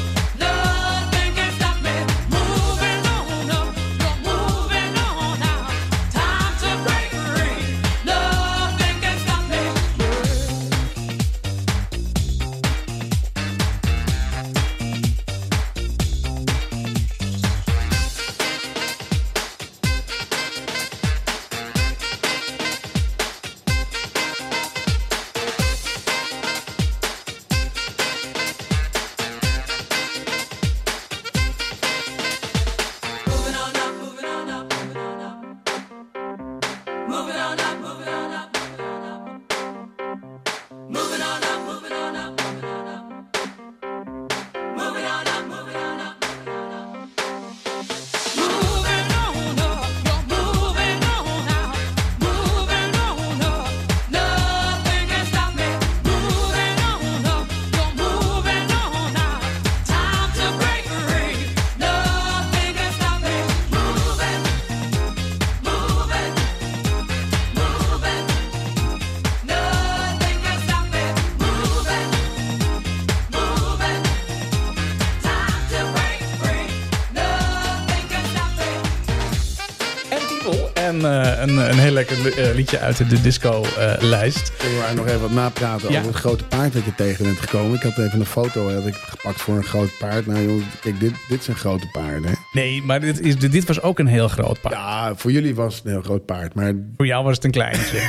Speaker 1: eh, een, een heel lekker li- eh, liedje uit de eh, disco-lijst.
Speaker 2: Kunnen wij nog even wat napraten
Speaker 1: Ja.
Speaker 2: over het grote paard dat je tegen bent gekomen? Ik had even een foto had ik gepakt voor een groot paard. Nou jongens, kijk, dit, dit zijn grote paarden. hè?
Speaker 1: nee, maar dit, is, dit was ook een heel groot paard.
Speaker 2: Ja, voor jullie was het een heel groot paard. Maar
Speaker 1: Voor jou was het een kleintje.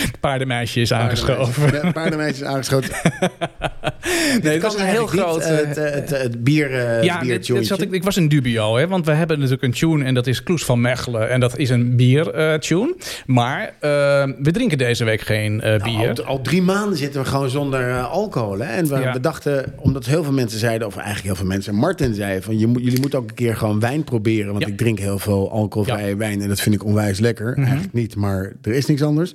Speaker 1: Het Paardenmeisje is aangeschoven.
Speaker 2: Ja, paardenmeisje is aangeschoven.
Speaker 1: Nee, het
Speaker 2: Kan
Speaker 1: was een heel
Speaker 2: eigenlijk
Speaker 1: groot.
Speaker 2: niet,
Speaker 1: eh,
Speaker 2: eh, het, eh, het, eh, het bier, eh
Speaker 1: ja,
Speaker 2: het
Speaker 1: dit, dit zat
Speaker 2: biertjoontje.
Speaker 1: ik, ik was in dubio, hè, want we hebben natuurlijk een tune en dat is Kloes van Mechelen en dat is een biertune. maar eh, we drinken deze week geen eh, bier.
Speaker 2: Al, al drie maanden zitten we gewoon zonder eh, alcohol. Hè? En we,
Speaker 1: Ja.
Speaker 2: we dachten, omdat heel veel mensen zeiden, of eigenlijk heel veel mensen, Martin zei van je moet, jullie moeten ook een keer gewoon wijn proberen. Want
Speaker 1: Ja. Mhm.
Speaker 2: ik drink heel veel alcoholvrije wijn en dat vind ik onwijs lekker. Eigenlijk niet, maar er is niks anders.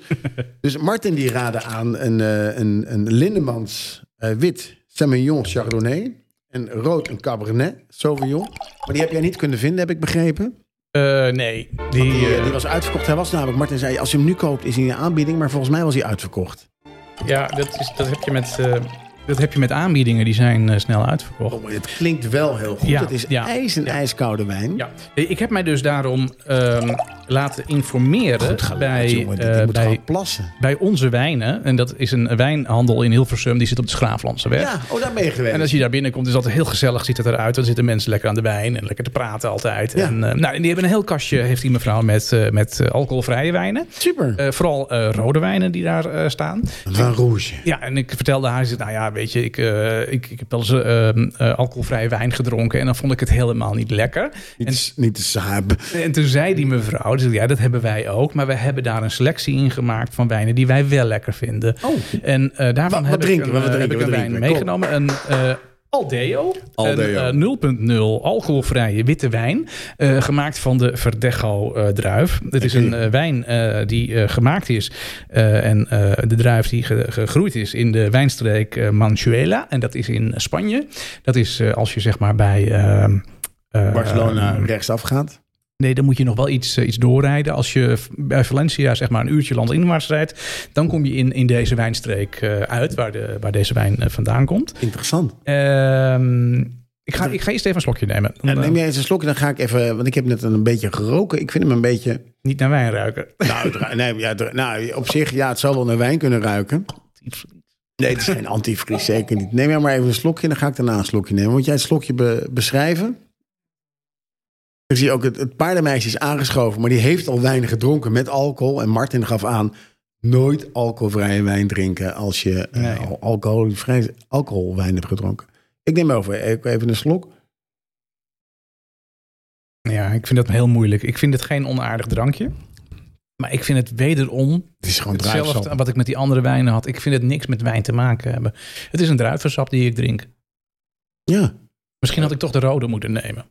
Speaker 2: dus Martin die raadde aan een, eh, een, een Lindemans eh, wit Semillon Chardonnay. En rood een Cabernet Sauvignon. Maar die heb jij niet kunnen vinden, heb ik begrepen.
Speaker 1: Eh, nee, die,
Speaker 2: Die, eh,
Speaker 1: eh,
Speaker 2: die was uitverkocht. Hij was namelijk, Martin zei, als je hem nu koopt is hij in de aanbieding. Maar volgens mij was hij uitverkocht.
Speaker 1: ja, dat, is, dat, heb je met, eh, dat heb je met aanbiedingen, die zijn eh, snel uitverkocht.
Speaker 2: Oh, maar het klinkt wel heel goed.
Speaker 1: Ja,
Speaker 2: het is
Speaker 1: ja,
Speaker 2: ijs en
Speaker 1: ja.
Speaker 2: ijskoude wijn.
Speaker 1: Ja, ik heb mij dus daarom ehm, laten informeren bij,
Speaker 2: Jongen, die, die
Speaker 1: eh,
Speaker 2: moet
Speaker 1: bij,
Speaker 2: gewoon plassen.
Speaker 1: bij Onze Wijnen. En dat is een wijnhandel in Hilversum, die zit op de Schraaflandse weg.
Speaker 2: Ja, oh, daar ben je geweest.
Speaker 1: En als je daar binnenkomt, is dat heel gezellig, ziet het eruit. Dan zitten mensen lekker aan de wijn en lekker te praten altijd.
Speaker 2: Ja.
Speaker 1: En, eh, nou, en die hebben een heel kastje, heeft die mevrouw, met, eh, met eh, alcoholvrije wijnen.
Speaker 2: Super.
Speaker 1: Eh, vooral eh, rode wijnen die daar eh, staan.
Speaker 2: Van Rouge.
Speaker 1: Ja, en ik vertelde haar, ze zei, nou ja, weet je, ik, eh, ik, ik heb wel eens eh, eh, alcoholvrije wijn gedronken en dan vond ik het helemaal niet lekker.
Speaker 2: Niet, te- niet te saap.
Speaker 1: En toen zei die mevrouw, die zei, ja, dat hebben wij ook, maar we hebben daar een selectie in gemaakt van wijnen die wij wel lekker vinden.
Speaker 2: Oh.
Speaker 1: En eh, daarvan
Speaker 2: Wat- wat
Speaker 1: heb,
Speaker 2: drinken
Speaker 1: ik
Speaker 2: we?
Speaker 1: een,
Speaker 2: Wat
Speaker 1: eh, heb
Speaker 2: drinken
Speaker 1: ik een
Speaker 2: we?
Speaker 1: wijn
Speaker 2: Drinken we?
Speaker 1: meegenomen. Een eh, Aldeo,
Speaker 2: Aldeo.
Speaker 1: een eh, 0.0 alcoholvrije witte wijn, eh, gemaakt van de Verdecho eh, druif. Het is
Speaker 2: Oké.
Speaker 1: een eh, wijn eh, die eh, gemaakt is eh, en eh, de druif die ge- gegroeid is in de wijnstreek eh, Manchuela en dat is in Spanje. Dat is eh, als je zeg maar bij... ehm, eh,
Speaker 2: Barcelona rechtsaf gaat.
Speaker 1: Nee, dan moet je nog wel iets, eh, iets doorrijden. Als je v- bij Valencia zeg maar een uurtje landinwaarts rijdt, dan kom je in, in deze wijnstreek eh, uit waar, de, waar deze wijn eh, vandaan komt.
Speaker 2: Interessant.
Speaker 1: Ehm, ik, ga, ik ga eerst even een slokje nemen. Dan,
Speaker 2: En
Speaker 1: eh,
Speaker 2: neem jij eens een slokje, dan ga ik even... Want ik heb net een beetje geroken. Ik vind hem een beetje...
Speaker 1: niet naar wijn ruiken.
Speaker 2: Nou, dra- nee, ja, dra- nou, op zich, ja, het zou wel naar wijn kunnen ruiken. Nee, het is geen antivries, zeker niet. Neem jij maar even een slokje en dan ga ik daarna een slokje nemen. Moet jij het slokje be- beschrijven? Ik zie ook, het, het paardenmeisje is aangeschoven, maar die heeft al wijn gedronken met alcohol. En Martin gaf aan, nooit alcoholvrije wijn drinken als je eh,
Speaker 1: Nee.
Speaker 2: al- alcoholvrij, alcoholwijn hebt gedronken. Ik neem over, ik- even een slok.
Speaker 1: Ja, ik vind dat heel moeilijk. Ik vind het geen onaardig drankje. Maar ik vind het wederom
Speaker 2: Het is gewoon
Speaker 1: hetzelfde
Speaker 2: druifsap.
Speaker 1: wat ik met die andere wijnen had. Ik vind het niks met wijn te maken hebben. Het is een druivensap die ik drink.
Speaker 2: Ja,
Speaker 1: Misschien had ik toch de rode moeten nemen.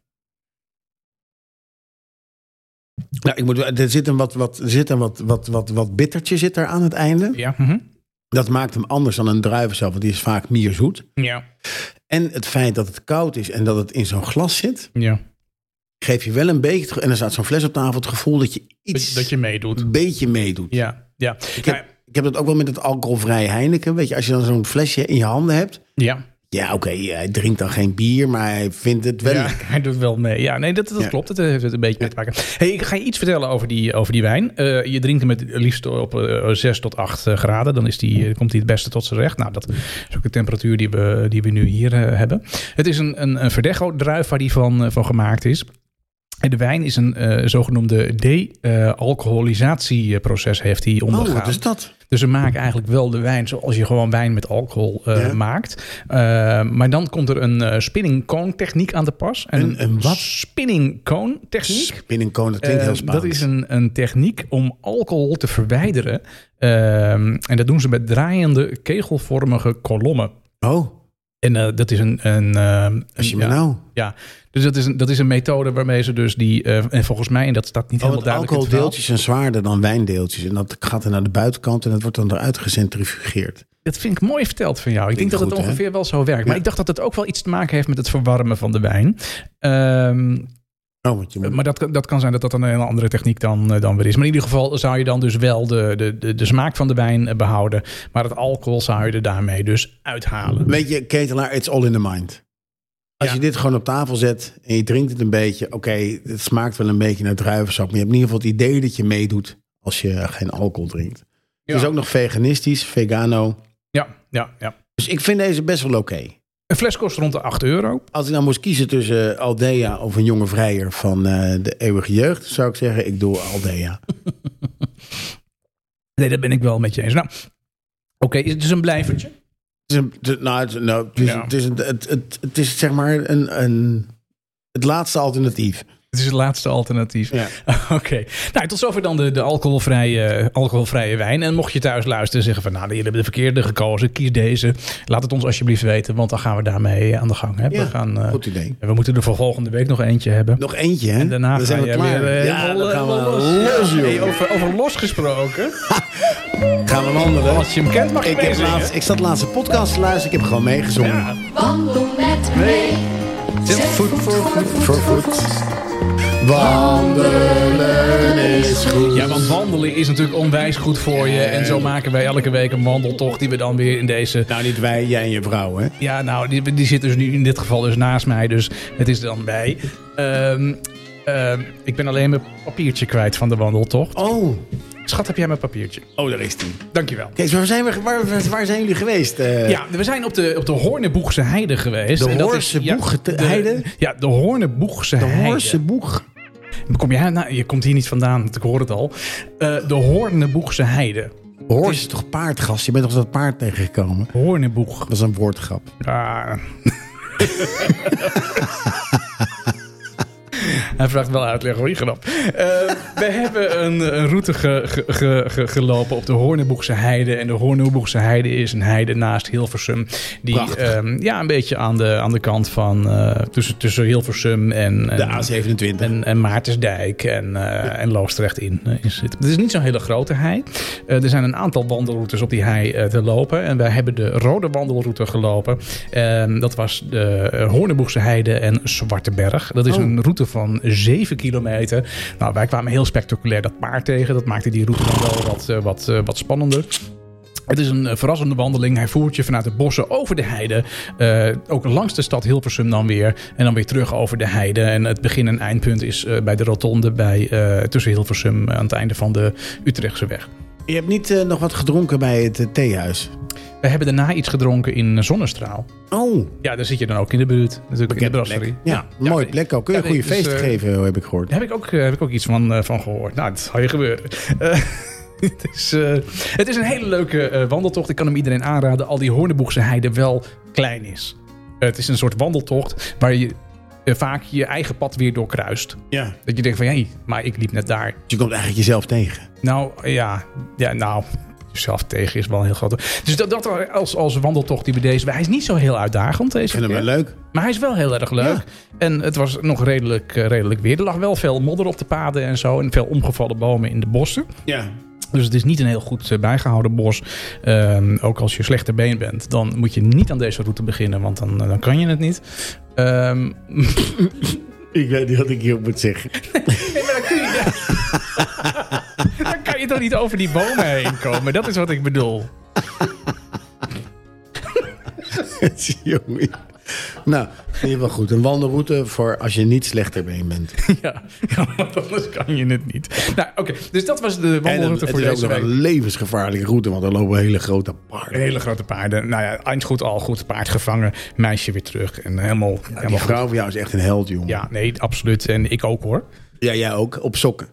Speaker 2: nou, ik moet, wel- er zit een, wat, wat, er zit een wat, wat, wat, wat bittertje zit er aan het einde.
Speaker 1: Ja. mhm.
Speaker 2: Dat maakt hem anders dan een druivensap, want die is vaak meer zoet.
Speaker 1: Ja.
Speaker 2: En het feit dat het koud is en dat het in zo'n glas zit,
Speaker 1: ja.
Speaker 2: geeft je wel een beetje. het ge- En er staat zo'n fles op tafel, het gevoel dat je
Speaker 1: Dat,
Speaker 2: iets
Speaker 1: dat je meedoet.
Speaker 2: een beetje meedoet.
Speaker 1: Ja. Ja.
Speaker 2: Ik, heb, ik heb dat ook wel met het alcoholvrij Heineken. Weet je, als je dan zo'n flesje in je handen hebt.
Speaker 1: ja.
Speaker 2: Ja, oké, hij drinkt dan geen bier, maar hij vindt het wel.
Speaker 1: Ja, hij doet wel mee. Ja, nee, dat, dat
Speaker 2: Ja.
Speaker 1: klopt. Dat heeft het een beetje mee te maken. Hey, ik ga je iets vertellen over die, over die wijn. Eh, je drinkt hem het liefst op eh, 6 tot 8 eh, graden. Dan is die, eh, komt hij het beste tot zijn recht. Nou, dat is ook de temperatuur die we, die we nu hier eh, hebben. Het is een, een, een Verdecho-druif waar die van, eh, van gemaakt is. En de wijn is een eh, zogenoemde de-alcoholisatieproces heeft hij ondergaan.
Speaker 2: Oh, wat is dat?
Speaker 1: Dus ze maken eigenlijk wel de wijn zoals je gewoon wijn met alcohol eh,
Speaker 2: Ja.
Speaker 1: maakt. Eh, maar dan komt er een eh spinning cone techniek aan de pas. En
Speaker 2: Een- een wat?
Speaker 1: Spinning cone techniek.
Speaker 2: Spinnenkoon, dat klinkt
Speaker 1: Eh,
Speaker 2: heel Spaans.
Speaker 1: dat is een, een techniek om alcohol te verwijderen. Ehm, en dat doen ze met draaiende kegelvormige kolommen.
Speaker 2: Oh,
Speaker 1: En eh, dat is een... een ehm,
Speaker 2: als je
Speaker 1: een- ja,
Speaker 2: me nou...
Speaker 1: ja, dus dat is, een, dat is een methode waarmee ze dus die... eh, en volgens mij, en dat staat niet
Speaker 2: Oh,
Speaker 1: helemaal
Speaker 2: want
Speaker 1: duidelijk in het verhaal.
Speaker 2: alcoholdeeltjes zijn zwaarder dan wijndeeltjes. En dat gaat er naar de buitenkant en dat wordt dan eruit gecentrifugeerd.
Speaker 1: Dat vind ik mooi verteld van jou. Ik denk
Speaker 2: Klinkt
Speaker 1: dat het
Speaker 2: goed, hè?
Speaker 1: ongeveer wel zo werkt. Maar
Speaker 2: Ja.
Speaker 1: ik dacht dat het ook wel iets te maken heeft met het verwarmen van de wijn. Ehm,
Speaker 2: Oh, want je moet
Speaker 1: maar dat, dat kan zijn dat dat een hele andere techniek dan, eh, dan weer is. Maar in ieder geval zou je dan dus wel de, de, de, de smaak van de wijn eh, behouden. Maar het alcohol zou je er daarmee dus uithalen.
Speaker 2: Weet je, ketelaar, it's all in the mind. Als
Speaker 1: Ja.
Speaker 2: je dit gewoon op tafel zet en je drinkt het een beetje, oké, het smaakt wel een beetje naar druivensap, maar je hebt in ieder geval het idee dat je meedoet als je geen alcohol drinkt. Het is ook nog veganistisch, vegano.
Speaker 1: Ja, ja, ja.
Speaker 2: Dus ik vind deze best wel oké.
Speaker 1: Een fles kost rond de 8 euro.
Speaker 2: Als ik nou moest kiezen tussen Aldea of een jonge vrijer van eh, de eeuwige jeugd, zou ik zeggen, ik doe Aldea.
Speaker 1: Nee, dat ben ik wel met je eens. Nou, oké, is het dus een blijvertje?
Speaker 2: Het is een, het- nou, het, is- nou, het is,
Speaker 1: Ja.
Speaker 2: het, is een- het, het, het is zeg maar een, een, het laatste alternatief.
Speaker 1: Het is het laatste alternatief.
Speaker 2: Ja.
Speaker 1: Oké. Nou, tot zover dan de, de alcoholvrije, alcoholvrije wijn. En mocht je thuis luisteren en zeggen van... nou, jullie hebben de verkeerde gekozen, kies deze. Laat het ons alsjeblieft weten, want dan gaan we daarmee eh, aan de gang. Hè?
Speaker 2: Ja,
Speaker 1: we, gaan, eh,
Speaker 2: Goed idee.
Speaker 1: we moeten er voor volgende week nog eentje hebben.
Speaker 2: Nog eentje, hè?
Speaker 1: Daarna
Speaker 2: Dan
Speaker 1: ga
Speaker 2: zijn we
Speaker 1: je
Speaker 2: klaar.
Speaker 1: weer eh,
Speaker 2: ja,
Speaker 1: helemaal,
Speaker 2: dan gaan
Speaker 1: eh,
Speaker 2: we
Speaker 1: los.
Speaker 2: los,
Speaker 1: Hey,
Speaker 2: joh.
Speaker 1: over, over los gesproken.
Speaker 2: Gaan we wandelen.
Speaker 1: Als je hem kent mag je
Speaker 2: Ik, heb
Speaker 1: meezingen.
Speaker 2: laatst, ik zat laatst de podcast te luisteren. Ik heb gewoon meegezongen.
Speaker 1: Ja.
Speaker 4: Wandel met mee. Zet voet voor voet voor voet.
Speaker 2: Wandelen is goed.
Speaker 1: Ja, want wandelen is natuurlijk onwijs goed voor je. En zo maken wij elke week een wandeltocht die we dan weer in deze...
Speaker 2: Nou, niet wij, jij en je vrouw, hè?
Speaker 1: Ja, nou, die, die zit dus nu in dit geval dus naast mij. Dus het is er dan bij. Ehm, ehm, ik ben alleen mijn papiertje kwijt van de wandeltocht.
Speaker 2: Oh,
Speaker 1: Schat, heb jij mijn papiertje?
Speaker 2: oh daar is die.
Speaker 1: Dankjewel.
Speaker 2: Kees, waar zijn, we, waar, waar zijn jullie geweest? eh?
Speaker 1: Ja, we zijn op de, op de Hoornenboegse Heide geweest.
Speaker 2: De
Speaker 1: En dat is-
Speaker 2: Hoorse
Speaker 1: ja,
Speaker 2: Boeg-
Speaker 1: de-
Speaker 2: Heide?
Speaker 1: Ja, de Hoornenboegse
Speaker 2: De
Speaker 1: Heide.
Speaker 2: Hoorse boeg.
Speaker 1: Kom je, nou, je komt hier niet vandaan, want ik hoor het al. Eh, de Hoornenboegse Heide.
Speaker 2: Hoors is toch paardgast? Je bent toch dat paard tegengekomen?
Speaker 1: Hoornenboeg.
Speaker 2: Dat is een woordgrap.
Speaker 1: Ah. Hij vraagt wel uitleg hoor, je grap. Eh, we hebben een, een route ge- ge- ge- ge- gelopen op de Hoornenboegse Heide. En de Hoornenboegse Heide is een heide naast Hilversum. Die
Speaker 2: Prachtig.
Speaker 1: ehm, ja, een beetje aan de, aan de kant van eh, tussen, tussen Hilversum en, en,
Speaker 2: De A27.
Speaker 1: en, en Maartensdijk en, eh, en Loosdrecht in, eh, in zit. Het is niet zo'n hele grote hei. Eh, er zijn een aantal wandelroutes op die hei eh, te lopen. En wij hebben de rode wandelroute gelopen. Ehm, dat was de eh, Hoornenboegse Heide en Zwarte Berg. Dat is
Speaker 2: Oh.
Speaker 1: een route van 7 kilometer. Nou, wij kwamen heel spectaculair dat paard tegen. Dat maakte die route dan wel wat, eh, wat, eh, wat spannender. Het is een eh, verrassende wandeling. Hij voert je vanuit de bossen over de heide. eh, ook langs de stad Hilversum dan weer. En dan weer terug over de heide. En het begin- en eindpunt is eh, bij de rotonde bij, eh, tussen Hilversum aan het einde van de Utrechtse weg.
Speaker 2: Je hebt niet eh, nog wat gedronken bij het eh, theehuis.
Speaker 1: We hebben daarna iets gedronken in Zonnestraal.
Speaker 2: Oh,
Speaker 1: Ja, daar zit je dan ook in de buurt. Natuurlijk in de brasserie.
Speaker 2: Ja, mooi plek ook. Kun je
Speaker 1: Ja,
Speaker 2: een goede
Speaker 1: nee, dus,
Speaker 2: feest
Speaker 1: eh,
Speaker 2: geven, heb ik gehoord.
Speaker 1: Daar heb ik ook, eh, heb ik ook iets van, eh, van gehoord. Nou, dat zal je gebeuren. Eh, het, is, eh, het is een hele leuke eh, wandeltocht. Ik kan hem iedereen aanraden. Al die Hoornenboegse heide wel klein is. het is een soort wandeltocht waar je eh, vaak je eigen pad weer doorkruist.
Speaker 2: Ja.
Speaker 1: Dat je denkt van, hé, maar ik liep net daar.
Speaker 2: Dus Je komt eigenlijk jezelf tegen.
Speaker 1: Nou, ja, ja nou... Zelf tegen is wel een heel groot. Dus dat, dat als, als wandeltocht die we deze. Hij is niet zo heel uitdagend. Deze
Speaker 2: Ik vind hem
Speaker 1: keer.
Speaker 2: wel leuk.
Speaker 1: Maar hij is wel heel erg leuk.
Speaker 2: Ja.
Speaker 1: En het was nog redelijk, eh, redelijk weer. Er lag wel veel modder op de paden en zo. En veel omgevallen bomen in de bossen.
Speaker 2: Ja.
Speaker 1: Dus het is niet een heel goed eh, bijgehouden bos. Ehm, ook als je slechter been bent, dan moet je niet aan deze route beginnen. Want dan, eh, dan kan je het niet. Ehm,
Speaker 2: Ik weet niet wat ik hierop moet zeggen.
Speaker 1: nee, maar dan kun je... dan kan je toch niet over die bomen heen komen. Dat is wat ik bedoel.
Speaker 2: Jongen. Nou, in ieder geval goed. Een wandelroute voor als je niet slechter been bent.
Speaker 1: Ja, ja want anders kan je het niet. Nou, oké. Dus dat was de
Speaker 2: En dan,
Speaker 1: wandelroute
Speaker 2: het
Speaker 1: voor
Speaker 2: is ook
Speaker 1: deze
Speaker 2: nog
Speaker 1: week.
Speaker 2: een levensgevaarlijke route, want er lopen hele grote paarden.
Speaker 1: Hele grote paarden. Nou ja, eindgoed al goed. Paard gevangen. Meisje weer terug. En helemaal,
Speaker 2: Nou, Die
Speaker 1: helemaal goed.
Speaker 2: vrouw van jou is echt een held, jongen.
Speaker 1: Ja, nee, absoluut. En ik ook hoor.
Speaker 2: ja jij ook. Op sokken.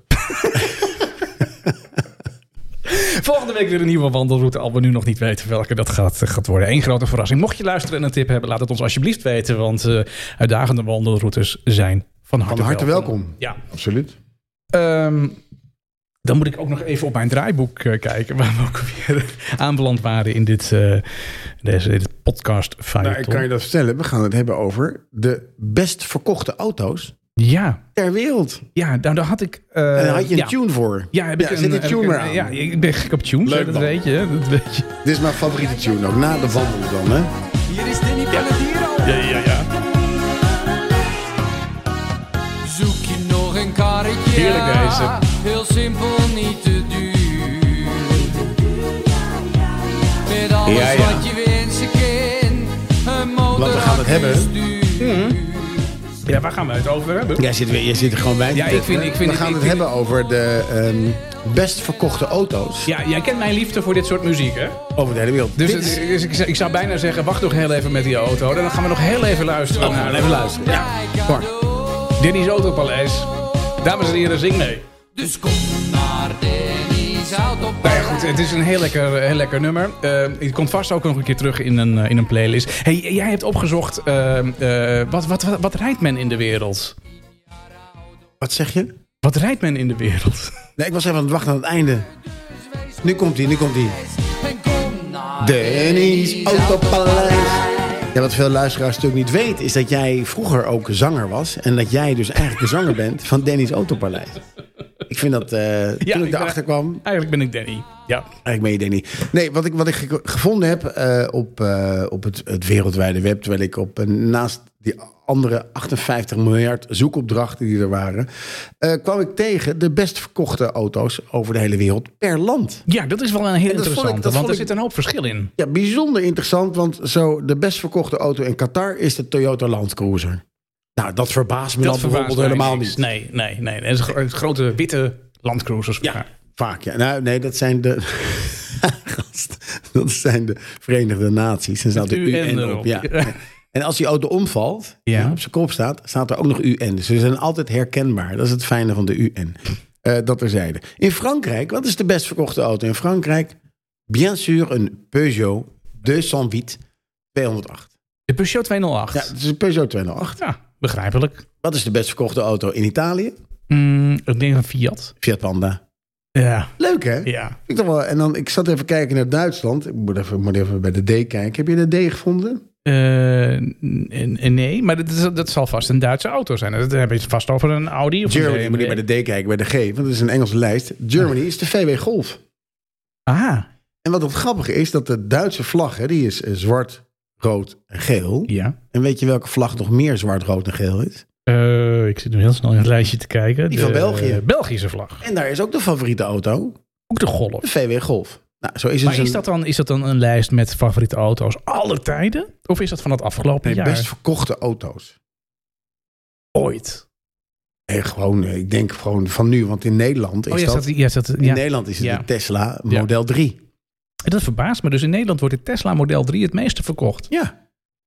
Speaker 1: Volgende week weer een nieuwe wandelroute. Al we nu nog niet weten welke dat gaat, eh, gaat worden. Eén grote verrassing. Mocht je luisteren en een tip hebben, laat het ons alsjeblieft weten. Want eh, uitdagende wandelroutes zijn van harte,
Speaker 2: Van harte welkom.
Speaker 1: Ja.
Speaker 2: Absoluut.
Speaker 1: Ehm, dan moet ik ook nog even op mijn draaiboek eh, kijken. Waar we ook weer aanbeland waren in dit, eh, deze, dit podcast.
Speaker 2: Nou, ik kan je dat vertellen. We gaan het hebben over de best verkochte auto's
Speaker 1: Ja,
Speaker 2: ter wereld.
Speaker 1: ja nou, daar had ik. eh,
Speaker 2: En daar had je een
Speaker 1: ja.
Speaker 2: tune voor.
Speaker 1: Ja, heb ik
Speaker 2: Ja,
Speaker 1: een,
Speaker 2: zit die
Speaker 1: heb
Speaker 2: tune
Speaker 1: ik
Speaker 2: maar
Speaker 1: een-
Speaker 2: aan?
Speaker 1: Ja, ik ben gek op tunes,
Speaker 2: Leuk
Speaker 1: hè, dat
Speaker 2: dan.
Speaker 1: weet je. hè, Dat weet je.
Speaker 2: Dit is mijn favoriete tune ook. Na de wandel dan, hè?
Speaker 3: Hier is Danny Pellegrino. Zoek je nog een karretje?
Speaker 1: Heerlijk deze.
Speaker 2: eh,
Speaker 3: Heel simpel, niet te duur. Met alles
Speaker 2: Ja, ja.
Speaker 3: wat je wensen kan. Een motor
Speaker 2: Want we gaan het hebben. Mhm.
Speaker 3: accu's duur.
Speaker 1: Ja, waar gaan we het over hebben?
Speaker 2: Jij zit, weer- jij zit er gewoon bij. te
Speaker 1: Ja, ik
Speaker 2: testen.
Speaker 1: vind- ik vind-
Speaker 2: We gaan
Speaker 1: ik
Speaker 2: het
Speaker 1: vind-
Speaker 2: hebben over de ehm, best verkochte auto's
Speaker 1: Ja, jij kent mijn liefde voor dit soort muziek, hè?
Speaker 2: over de hele wereld.
Speaker 1: Dus,
Speaker 2: Dit is-
Speaker 1: het- dus ik, zou- ik zou bijna zeggen, wacht nog heel even met die auto. En dan gaan we nog heel even luisteren
Speaker 2: Oh,
Speaker 1: naar
Speaker 2: even luisteren. Ja. Kom maar.
Speaker 1: Denny's Autopaleis. Dames en heren, zing mee.
Speaker 3: Dus kom naar Danny's Auto.
Speaker 1: Nou ja, goed, het is een heel lekker, heel lekker nummer. Eh, het komt vast ook nog een keer terug in een, eh, in een playlist. Hey, jij hebt opgezocht, eh, eh, wat, wat, wat, wat rijdt men in de wereld?
Speaker 2: Wat zeg je?
Speaker 1: Wat rijdt men in de wereld?
Speaker 2: Nee, ik was even aan het wachten aan het einde. Nu komt hij, nu komt hij.
Speaker 3: En kom naar
Speaker 2: Danny's Autopaleis. Ja, wat veel luisteraars natuurlijk niet weten... is dat jij vroeger ook zanger was... en dat jij dus eigenlijk de zanger bent van Danny's Autopaleis. Ik vind dat... eh,
Speaker 1: ik
Speaker 2: toen ik
Speaker 1: ben-
Speaker 2: erachter kwam...
Speaker 1: Eigenlijk ben ik Danny. Ja.
Speaker 2: Ik meen je Danny. Nee, wat ik, wat ik ge- gevonden heb eh, op, eh, op het, het wereldwijde web... terwijl ik op, eh, naast die andere 58 miljard zoekopdrachten die er waren... eh, kwam ik tegen de best verkochte auto's over de hele wereld per land.
Speaker 1: ja, dat is wel een heel
Speaker 2: dat vond ik-
Speaker 1: interessante,
Speaker 2: dat
Speaker 1: want
Speaker 2: vond
Speaker 1: er
Speaker 2: ik-
Speaker 1: zit een hoop verschil in.
Speaker 2: Ja, bijzonder interessant, want zo de best verkochte auto in Qatar is de Toyota Land Cruiser. Nou, dat verbaast me
Speaker 1: Dat
Speaker 2: dan
Speaker 1: verbaast
Speaker 2: bijvoorbeeld
Speaker 1: mij
Speaker 2: helemaal
Speaker 1: niks.
Speaker 2: niet.
Speaker 1: Nee, nee, nee. nee. Dat is gro- grote witte landcruisers.
Speaker 2: Ja, vaak ja. Nou, nee, dat zijn de... Gast, dat zijn de Verenigde Naties. Er staat de
Speaker 1: UN
Speaker 2: UN,
Speaker 1: erop.
Speaker 2: op. Ja. En als die auto omvalt,
Speaker 1: Ja.
Speaker 2: en op zijn kop staat, staat er ook nog UN. Dus ze zijn altijd herkenbaar. Dat is het fijne van de UN. Eh dat terzijde. In Frankrijk, wat is de best verkochte auto in Frankrijk? Bien sûr een Peugeot 208 208.
Speaker 1: De Peugeot 208.
Speaker 2: Ja, het is een Peugeot 208.
Speaker 1: Ja, begrijpelijk.
Speaker 2: Wat is de best verkochte auto in Italië?
Speaker 1: Mm, ik denk een Fiat.
Speaker 2: Fiat Panda.
Speaker 1: Ja.
Speaker 2: Leuk hè?
Speaker 1: Ja.
Speaker 2: Ik dacht wel, en dan, ik zat even kijken naar Duitsland. Ik moet even, ik moet even bij de D kijken. Heb je de D gevonden?
Speaker 1: Eh, n- n- nee, maar dat, is- dat zal vast een Duitse auto zijn. Dat heb je het vast over een Audi of
Speaker 2: Germany
Speaker 1: een
Speaker 2: moet je bij de D kijken, bij de G. Want het is een Engelse lijst. Germany is de VW Golf.
Speaker 1: Ah,
Speaker 2: En wat het grappige is, dat de Duitse vlag, hè, die is eh, zwart, rood en geel.
Speaker 1: ja.
Speaker 2: En weet je welke vlag nog meer zwart, rood en geel is?
Speaker 1: Eh, ik zit nu heel snel in het lijstje te kijken.
Speaker 2: Die van
Speaker 1: De,
Speaker 2: België.
Speaker 1: eh, Belgische vlag.
Speaker 2: En daar is ook de favoriete auto,
Speaker 1: Ook de Golf.
Speaker 2: de VW Golf. Nou, zo is het
Speaker 1: Maar
Speaker 2: dus
Speaker 1: is
Speaker 2: een-
Speaker 1: dat, dan, is dat dan een lijst met favoriete auto's aller tijden? Of is dat van het afgelopen
Speaker 2: nee,
Speaker 1: jaar?
Speaker 2: best verkochte auto's.
Speaker 1: ooit.
Speaker 2: Nee, gewoon, eh, ik denk gewoon van nu, want in Nederland is
Speaker 1: Oh, ja,
Speaker 2: dat...
Speaker 1: dat, ja, is dat,
Speaker 2: in
Speaker 1: ja.
Speaker 2: Nederland is het
Speaker 1: Ja.
Speaker 2: de Tesla Model 3.
Speaker 1: dat verbaast me. Dus in Nederland wordt de Tesla Model 3 het meeste verkocht.
Speaker 2: Ja,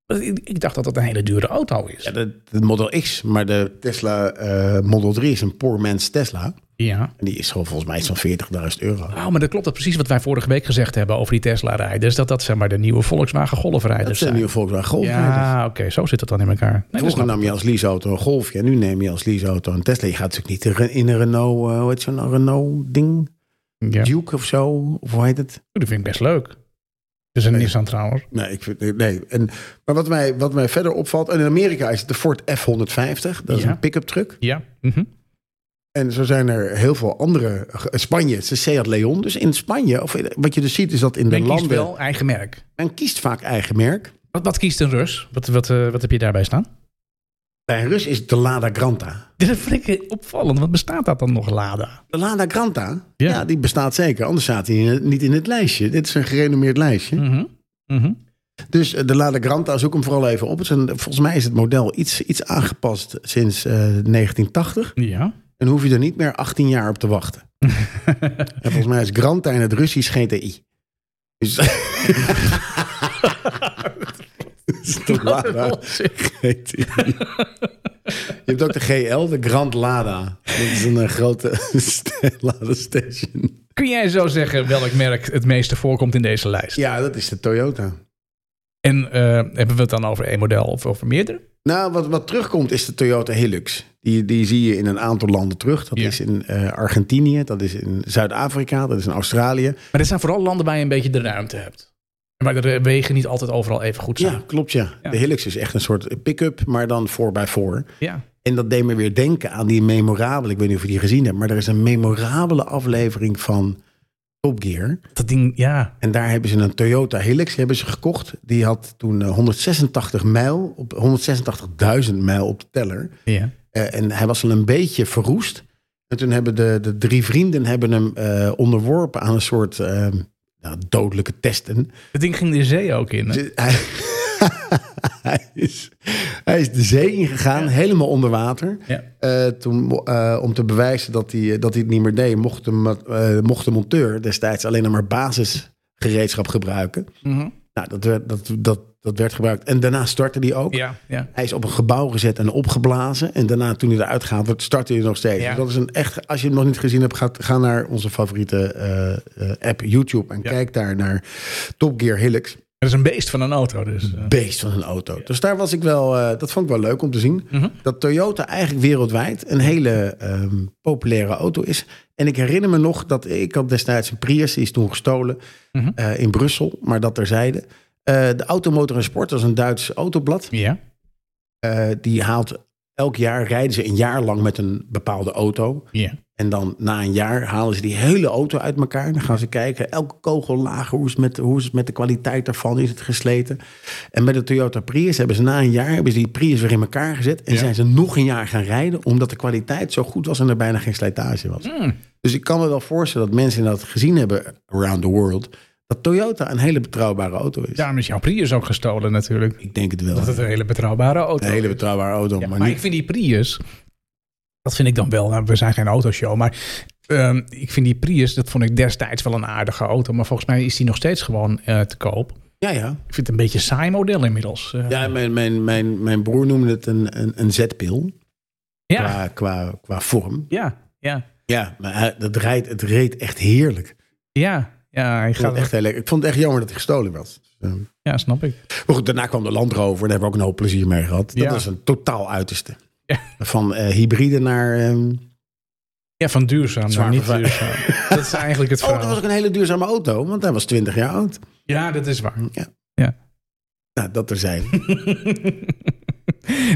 Speaker 1: Maar Ik, ik dacht dat dat een hele dure auto is.
Speaker 2: Ja, de, de Model X, maar de Tesla eh, Model 3 is een poor man's Tesla.
Speaker 1: ja.
Speaker 2: En die is gewoon volgens mij iets van 40.000 euro.
Speaker 1: Oh, maar dat klopt dat precies wat wij vorige week gezegd hebben over die Tesla-rijders. Dat dat zeg maar de nieuwe Volkswagen
Speaker 2: Dat
Speaker 1: Golfrijders
Speaker 2: zijn
Speaker 1: zijn.
Speaker 2: nieuwe Volkswagen Golf.
Speaker 1: Ja, oké, zo zit dat dan in elkaar. Nee, dat
Speaker 2: Vroeger
Speaker 1: snap ik.
Speaker 2: nam je als leaseauto een Golfje. Nu neem je als leaseauto een Tesla. Je gaat natuurlijk niet in- in een Renault, eh, hoe heet zo'n Renault ding?
Speaker 1: ja. Oh,
Speaker 2: Duke of zo? Of hoe heet het?
Speaker 1: Dat vind ik best leuk. Dat is een Nissan trouwens.
Speaker 2: Nee, ik, vind- nee. En, maar wat mij, wat mij verder opvalt... En in Amerika is het de Ford F-150. Dat is
Speaker 1: Ja.
Speaker 2: een pick-up truck.
Speaker 1: Ja. mhm.
Speaker 2: En zo zijn er heel veel andere... Spanje, het is de Seat Leon. Dus in Spanje, of in- wat je dus ziet, is dat in de
Speaker 1: Men kiest
Speaker 2: landen...
Speaker 1: wel eigen merk.
Speaker 2: Men kiest vaak eigen merk.
Speaker 1: Wat, wat kiest een Rus? Wat, wat, eh, wat heb je daarbij staan?
Speaker 2: Bij een Rus is het de Lada Granta.
Speaker 1: Dit vind ik opvallend. Wat bestaat dat dan nog, Lada?
Speaker 2: De Lada Granta,
Speaker 1: Ja.
Speaker 2: ja. die bestaat zeker. Anders staat hij in- niet in het lijstje. Dit is een gerenommeerd lijstje.
Speaker 1: Mhm. Mhm.
Speaker 2: Dus eh, de Lada Granta, zoek hem vooral even op. Het is een- volgens mij is het model iets, iets aangepast sinds eh, 1980.
Speaker 1: Ja.
Speaker 2: En hoef je er niet meer 18 jaar op te wachten. en volgens mij is Granta in het Russisch GTI. Dus... Dus de Lada GTI. Je hebt ook de GL, de Grand Lada. Dat is een eh, grote Lada station.
Speaker 1: Kun jij zo zeggen welk merk het meeste voorkomt in deze lijst?
Speaker 2: Ja, dat is de Toyota.
Speaker 1: En eh, hebben we het dan over één model of over meerdere?
Speaker 2: Nou, wat, wat terugkomt is de Toyota Hilux. Die, die zie je in een aantal landen terug. Dat
Speaker 1: Ja.
Speaker 2: is in eh, Argentinië, dat is in Zuid-Afrika, dat is in Australië.
Speaker 1: Maar dit zijn vooral landen waar je een beetje de ruimte hebt. En waar de wegen niet altijd overal even goed zijn.
Speaker 2: Ja, klopt ja.
Speaker 1: Ja.
Speaker 2: De Hilux is echt een soort pick-up, maar dan 4x4.
Speaker 1: Ja.
Speaker 2: En dat deed me weer denken aan die memorabele, ik weet niet of je die gezien hebt, maar er is een memorabele aflevering van Top Gear.
Speaker 1: Dat ding, ja.
Speaker 2: En daar hebben ze een Toyota Hilux hebben ze gekocht. Die had toen eh, 186 mijl op 186.000 mijl op de teller.
Speaker 1: ja.
Speaker 2: Eh, en hij was al een beetje verroest. En toen hebben de, de drie vrienden hebben hem eh, onderworpen aan een soort eh, nou, dodelijke testen.
Speaker 1: Dat ding ging de zee ook in. hè?
Speaker 2: Ze- hij, hij, is, hij is de zee ingegaan, helemaal onder water.
Speaker 1: Ja.
Speaker 2: Eh, toen, eh, om te bewijzen dat hij, eh, dat hij het niet meer deed, mocht de, ma- eh, mocht de monteur destijds alleen nog maar basisgereedschap gebruiken.
Speaker 1: Mhm.
Speaker 2: Nou, dat werd, dat, dat, dat werd gebruikt. En daarna startte hij ook.
Speaker 1: Ja, ja.
Speaker 2: Hij is op een gebouw gezet en opgeblazen. En daarna, toen hij eruit gaat, wordt- startte hij nog steeds.
Speaker 1: Ja.
Speaker 2: Dus dat is een echt. Als je hem nog niet gezien hebt, ga, ga naar onze favoriete eh, eh, app YouTube. En
Speaker 1: Ja.
Speaker 2: kijk daar naar Top Gear Hilux.
Speaker 1: Dat is een beest van een auto dus. eh.
Speaker 2: Beest van een auto. Dus daar was ik wel. eh, dat vond ik wel leuk om te zien. Dat Toyota eigenlijk wereldwijd een hele ehm, populaire auto is. En ik herinner me nog dat ik had destijds een Prius, die is toen gestolen eh, in Brussel, maar dat terzijde. Eh de Automotor en Sport, dat is een Duits autoblad.
Speaker 1: Ja.
Speaker 2: Eh, die haalt elk jaar rijden ze een jaar lang met een bepaalde auto.
Speaker 1: Ja.
Speaker 2: En dan na een jaar halen ze die hele auto uit elkaar. Dan gaan ze kijken, elke kogel lager, hoe is, het met, hoe is het met de kwaliteit daarvan? Is het gesleten? En met de Toyota Prius hebben ze na een jaar hebben ze die Prius weer in elkaar gezet. En
Speaker 1: Ja.
Speaker 2: zijn ze nog een jaar gaan rijden, omdat de kwaliteit zo goed was en er bijna geen slijtage was.
Speaker 1: Hmm.
Speaker 2: Dus ik kan me wel voorstellen dat mensen dat gezien hebben around the world. Dat Toyota een hele betrouwbare auto is.
Speaker 1: Daarom is jouw Prius ook gestolen natuurlijk.
Speaker 2: Ik denk het wel.
Speaker 1: Dat het een hele betrouwbare auto
Speaker 2: Een hele
Speaker 1: is.
Speaker 2: betrouwbare auto,
Speaker 1: Ja,
Speaker 2: maar,
Speaker 1: maar
Speaker 2: niet
Speaker 1: ik vind die Prius, dat vind ik dan wel, nou, we zijn geen autoshow, maar ehm, ik vind die Prius, dat vond ik destijds wel een aardige auto, maar volgens mij is die nog steeds gewoon eh, te koop.
Speaker 2: Ja, ja.
Speaker 1: Ik vind het een beetje een saai model inmiddels. Eh,
Speaker 2: Ja, mijn, mijn, mijn, mijn broer noemde het een, een, een zetpil
Speaker 1: ja,
Speaker 2: qua, qua, qua vorm.
Speaker 1: ja, ja,
Speaker 2: Ja, maar hij- dat rijdt, het reed echt heerlijk. Ik
Speaker 1: ja, ja, hij
Speaker 2: vond,
Speaker 1: gaat
Speaker 2: het echt heel lekker. ik vond het echt jammer dat hij gestolen was. Dus, ehm,
Speaker 1: ja, snap ik.
Speaker 2: Maar goed, daarna kwam de Land Rover. Daar hebben we ook een hoop plezier mee gehad. Dat
Speaker 1: Ja.
Speaker 2: was een totaal uiterste.
Speaker 1: Ja.
Speaker 2: Van eh, hybride naar... ehm,
Speaker 1: Ja, van duurzaam
Speaker 2: Zwaar
Speaker 1: naar niet
Speaker 2: vervuil-
Speaker 1: duurzaam. dat is eigenlijk het
Speaker 2: oh,
Speaker 1: verhaal.
Speaker 2: dat was ook een hele duurzame auto, want hij was 20 jaar oud.
Speaker 1: Ja, dat is waar.
Speaker 2: Hm. Ja.
Speaker 1: Ja.
Speaker 2: Nou, dat er zijn.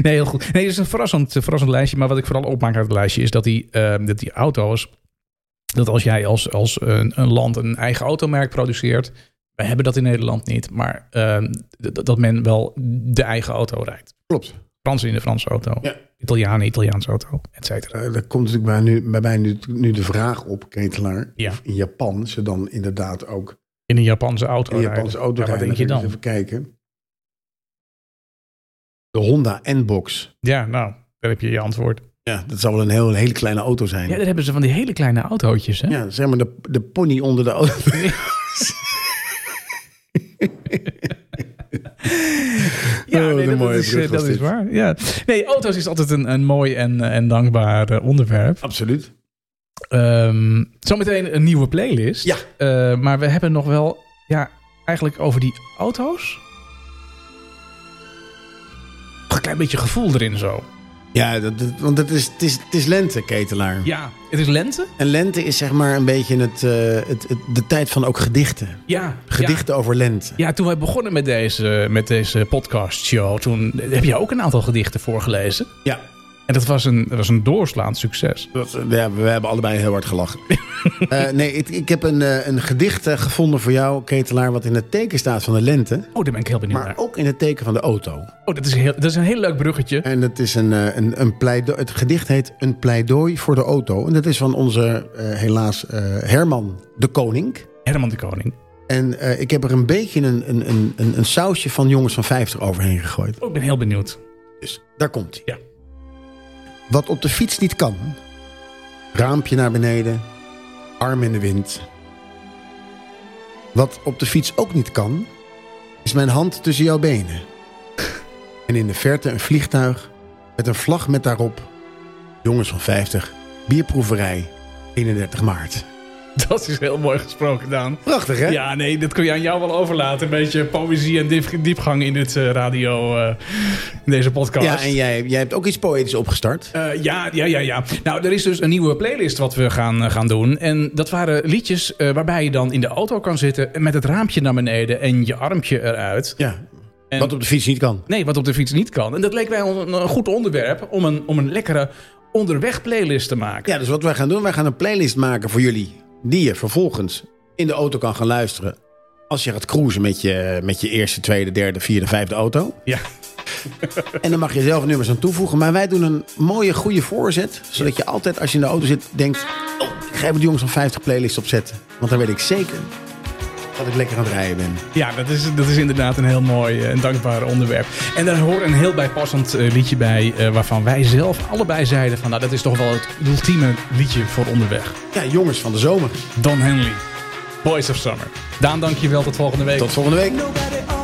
Speaker 1: Nee, heel goed. Nee, het is een verrassend, eh, verrassend lijstje. Maar wat ik vooral opmaak uit het lijstje is dat die, ehm, dat die auto's. Dat als jij als, als een, een land een eigen automerk produceert. Wij hebben dat in Nederland niet. Maar ehm, d- dat men wel de eigen auto rijdt.
Speaker 2: Klopt.
Speaker 1: Fransen in de Franse auto.
Speaker 2: Ja.
Speaker 1: Italianen, Italiaanse auto. Et cetera.
Speaker 2: Eh, daar komt natuurlijk bij, nu, bij mij nu, nu de vraag op, Ketelaar.
Speaker 1: Ja.
Speaker 2: Of In Japan ze dan inderdaad ook
Speaker 1: In een Japanse auto.
Speaker 2: een
Speaker 1: rijden.
Speaker 2: Japanse auto
Speaker 1: Ja, wat
Speaker 2: rijden.
Speaker 1: denk je
Speaker 2: Eens
Speaker 1: dan?
Speaker 2: Even kijken. De Honda N-Box.
Speaker 1: Ja, nou, daar heb je je antwoord.
Speaker 2: Ja, dat zal wel een, heel, een hele kleine auto zijn.
Speaker 1: Ja,
Speaker 2: Ja,
Speaker 1: daar hebben ze van die hele kleine autootjes. Hè?
Speaker 2: zeg maar de, de pony onder de auto.
Speaker 1: Ja,
Speaker 2: Oh,
Speaker 1: nee,
Speaker 2: wat een
Speaker 1: dat,
Speaker 2: mooie
Speaker 1: dat is, eh,
Speaker 2: brug was
Speaker 1: dat is
Speaker 2: dit.
Speaker 1: waar. Ja. Nee, auto's is altijd een, een mooi en, eh, en dankbaar eh, onderwerp.
Speaker 2: Absoluut.
Speaker 1: Ehm, zometeen een nieuwe playlist.
Speaker 2: Ja.
Speaker 1: Eh, maar we hebben nog wel, ja, eigenlijk over die auto's. Nog een klein beetje gevoel erin zo.
Speaker 2: Ja, dat, dat- want het is, het, is, het is lente, Ketelaar.
Speaker 1: Ja, het is lente.
Speaker 2: En lente is zeg maar een beetje het, eh, het, het- de tijd van ook gedichten.
Speaker 1: Ja, Ja.
Speaker 2: Gedichten over lente.
Speaker 1: Ja, toen wij begonnen met deze, met deze podcast show, toen heb je ook een aantal gedichten voorgelezen.
Speaker 2: Ja.
Speaker 1: En dat was een, dat was een doorslaand succes.
Speaker 2: Dat, eh, ja, we hebben allebei heel hard gelachen. Eh, nee, ik, ik heb een, eh, een gedicht eh, gevonden voor jou, Ketelaar, wat in het teken staat van de lente.
Speaker 1: Oh, daar ben ik heel benieuwd
Speaker 2: Maar
Speaker 1: naar.
Speaker 2: ook in het teken van de auto.
Speaker 1: Oh, dat is, heel, dat is een heel leuk bruggetje.
Speaker 2: En het, is een, eh, een, een pleidooi, het gedicht heet Een pleidooi voor de auto. En dat is van onze, eh, helaas, eh, Herman de Koning.
Speaker 1: Herman de Koning.
Speaker 2: En eh, ik heb er een beetje een, een, een, een- een sausje van jongens van 50 overheen gegooid.
Speaker 1: Oh, ik ben heel benieuwd.
Speaker 2: Dus daar komt hij.
Speaker 1: Ja.
Speaker 2: Wat op de fiets niet kan. Raampje naar beneden, arm in de wind. Wat op de fiets ook niet kan, is mijn hand tussen jouw benen. En in de verte een vliegtuig met een vlag met daarop... Jongens van 50, bierproeverij, 31 maart.
Speaker 1: Dat is heel mooi gesproken, Daan.
Speaker 2: Prachtig, hè?
Speaker 1: Ja, nee, dat kun je aan jou wel overlaten. Een beetje poëzie en diep- diepgang in dit eh, radio, eh, in deze podcast.
Speaker 2: Ja, en jij, jij hebt ook iets poëtisch opgestart.
Speaker 1: Eh, ja, ja, ja, ja. Nou, er is dus een nieuwe playlist wat we gaan, eh, gaan doen. En dat waren liedjes eh, waarbij je dan in de auto kan zitten... en met het raampje naar beneden en je armpje eruit.
Speaker 2: Ja,
Speaker 1: En-
Speaker 2: wat op de fiets niet kan.
Speaker 1: Nee, wat op de fiets niet kan. En dat leek mij een, een goed onderwerp om een, om een lekkere onderweg playlist te maken.
Speaker 2: Ja, dus wat wij gaan doen, wij gaan een playlist maken voor jullie. Die je vervolgens in de auto kan gaan luisteren. Als je gaat cruisen met je, met je eerste, tweede, derde, vierde, vijfde auto.
Speaker 1: Ja.
Speaker 2: En dan mag je zelf nummers aan toevoegen. Maar wij doen een mooie, goede voorzet. Zodat je altijd als je in de auto zit, denkt... Oh, ik ga even de jongens van 50 playlist opzetten. Want dan weet ik zeker dat ik lekker aan het rijden ben.
Speaker 1: Ja, dat is, dat is inderdaad een heel mooi eh, en dankbaar onderwerp. En daar hoort een heel bijpassend eh, liedje bij, eh, waarvan wij zelf allebei zeiden van, nou, dat is toch wel het ultieme liedje voor onderweg.
Speaker 2: Ja, jongens van de zomer.
Speaker 1: Don Henley, Boys of Summer. Daan, dank je wel. Tot volgende week.
Speaker 2: Tot volgende week.
Speaker 3: Nobody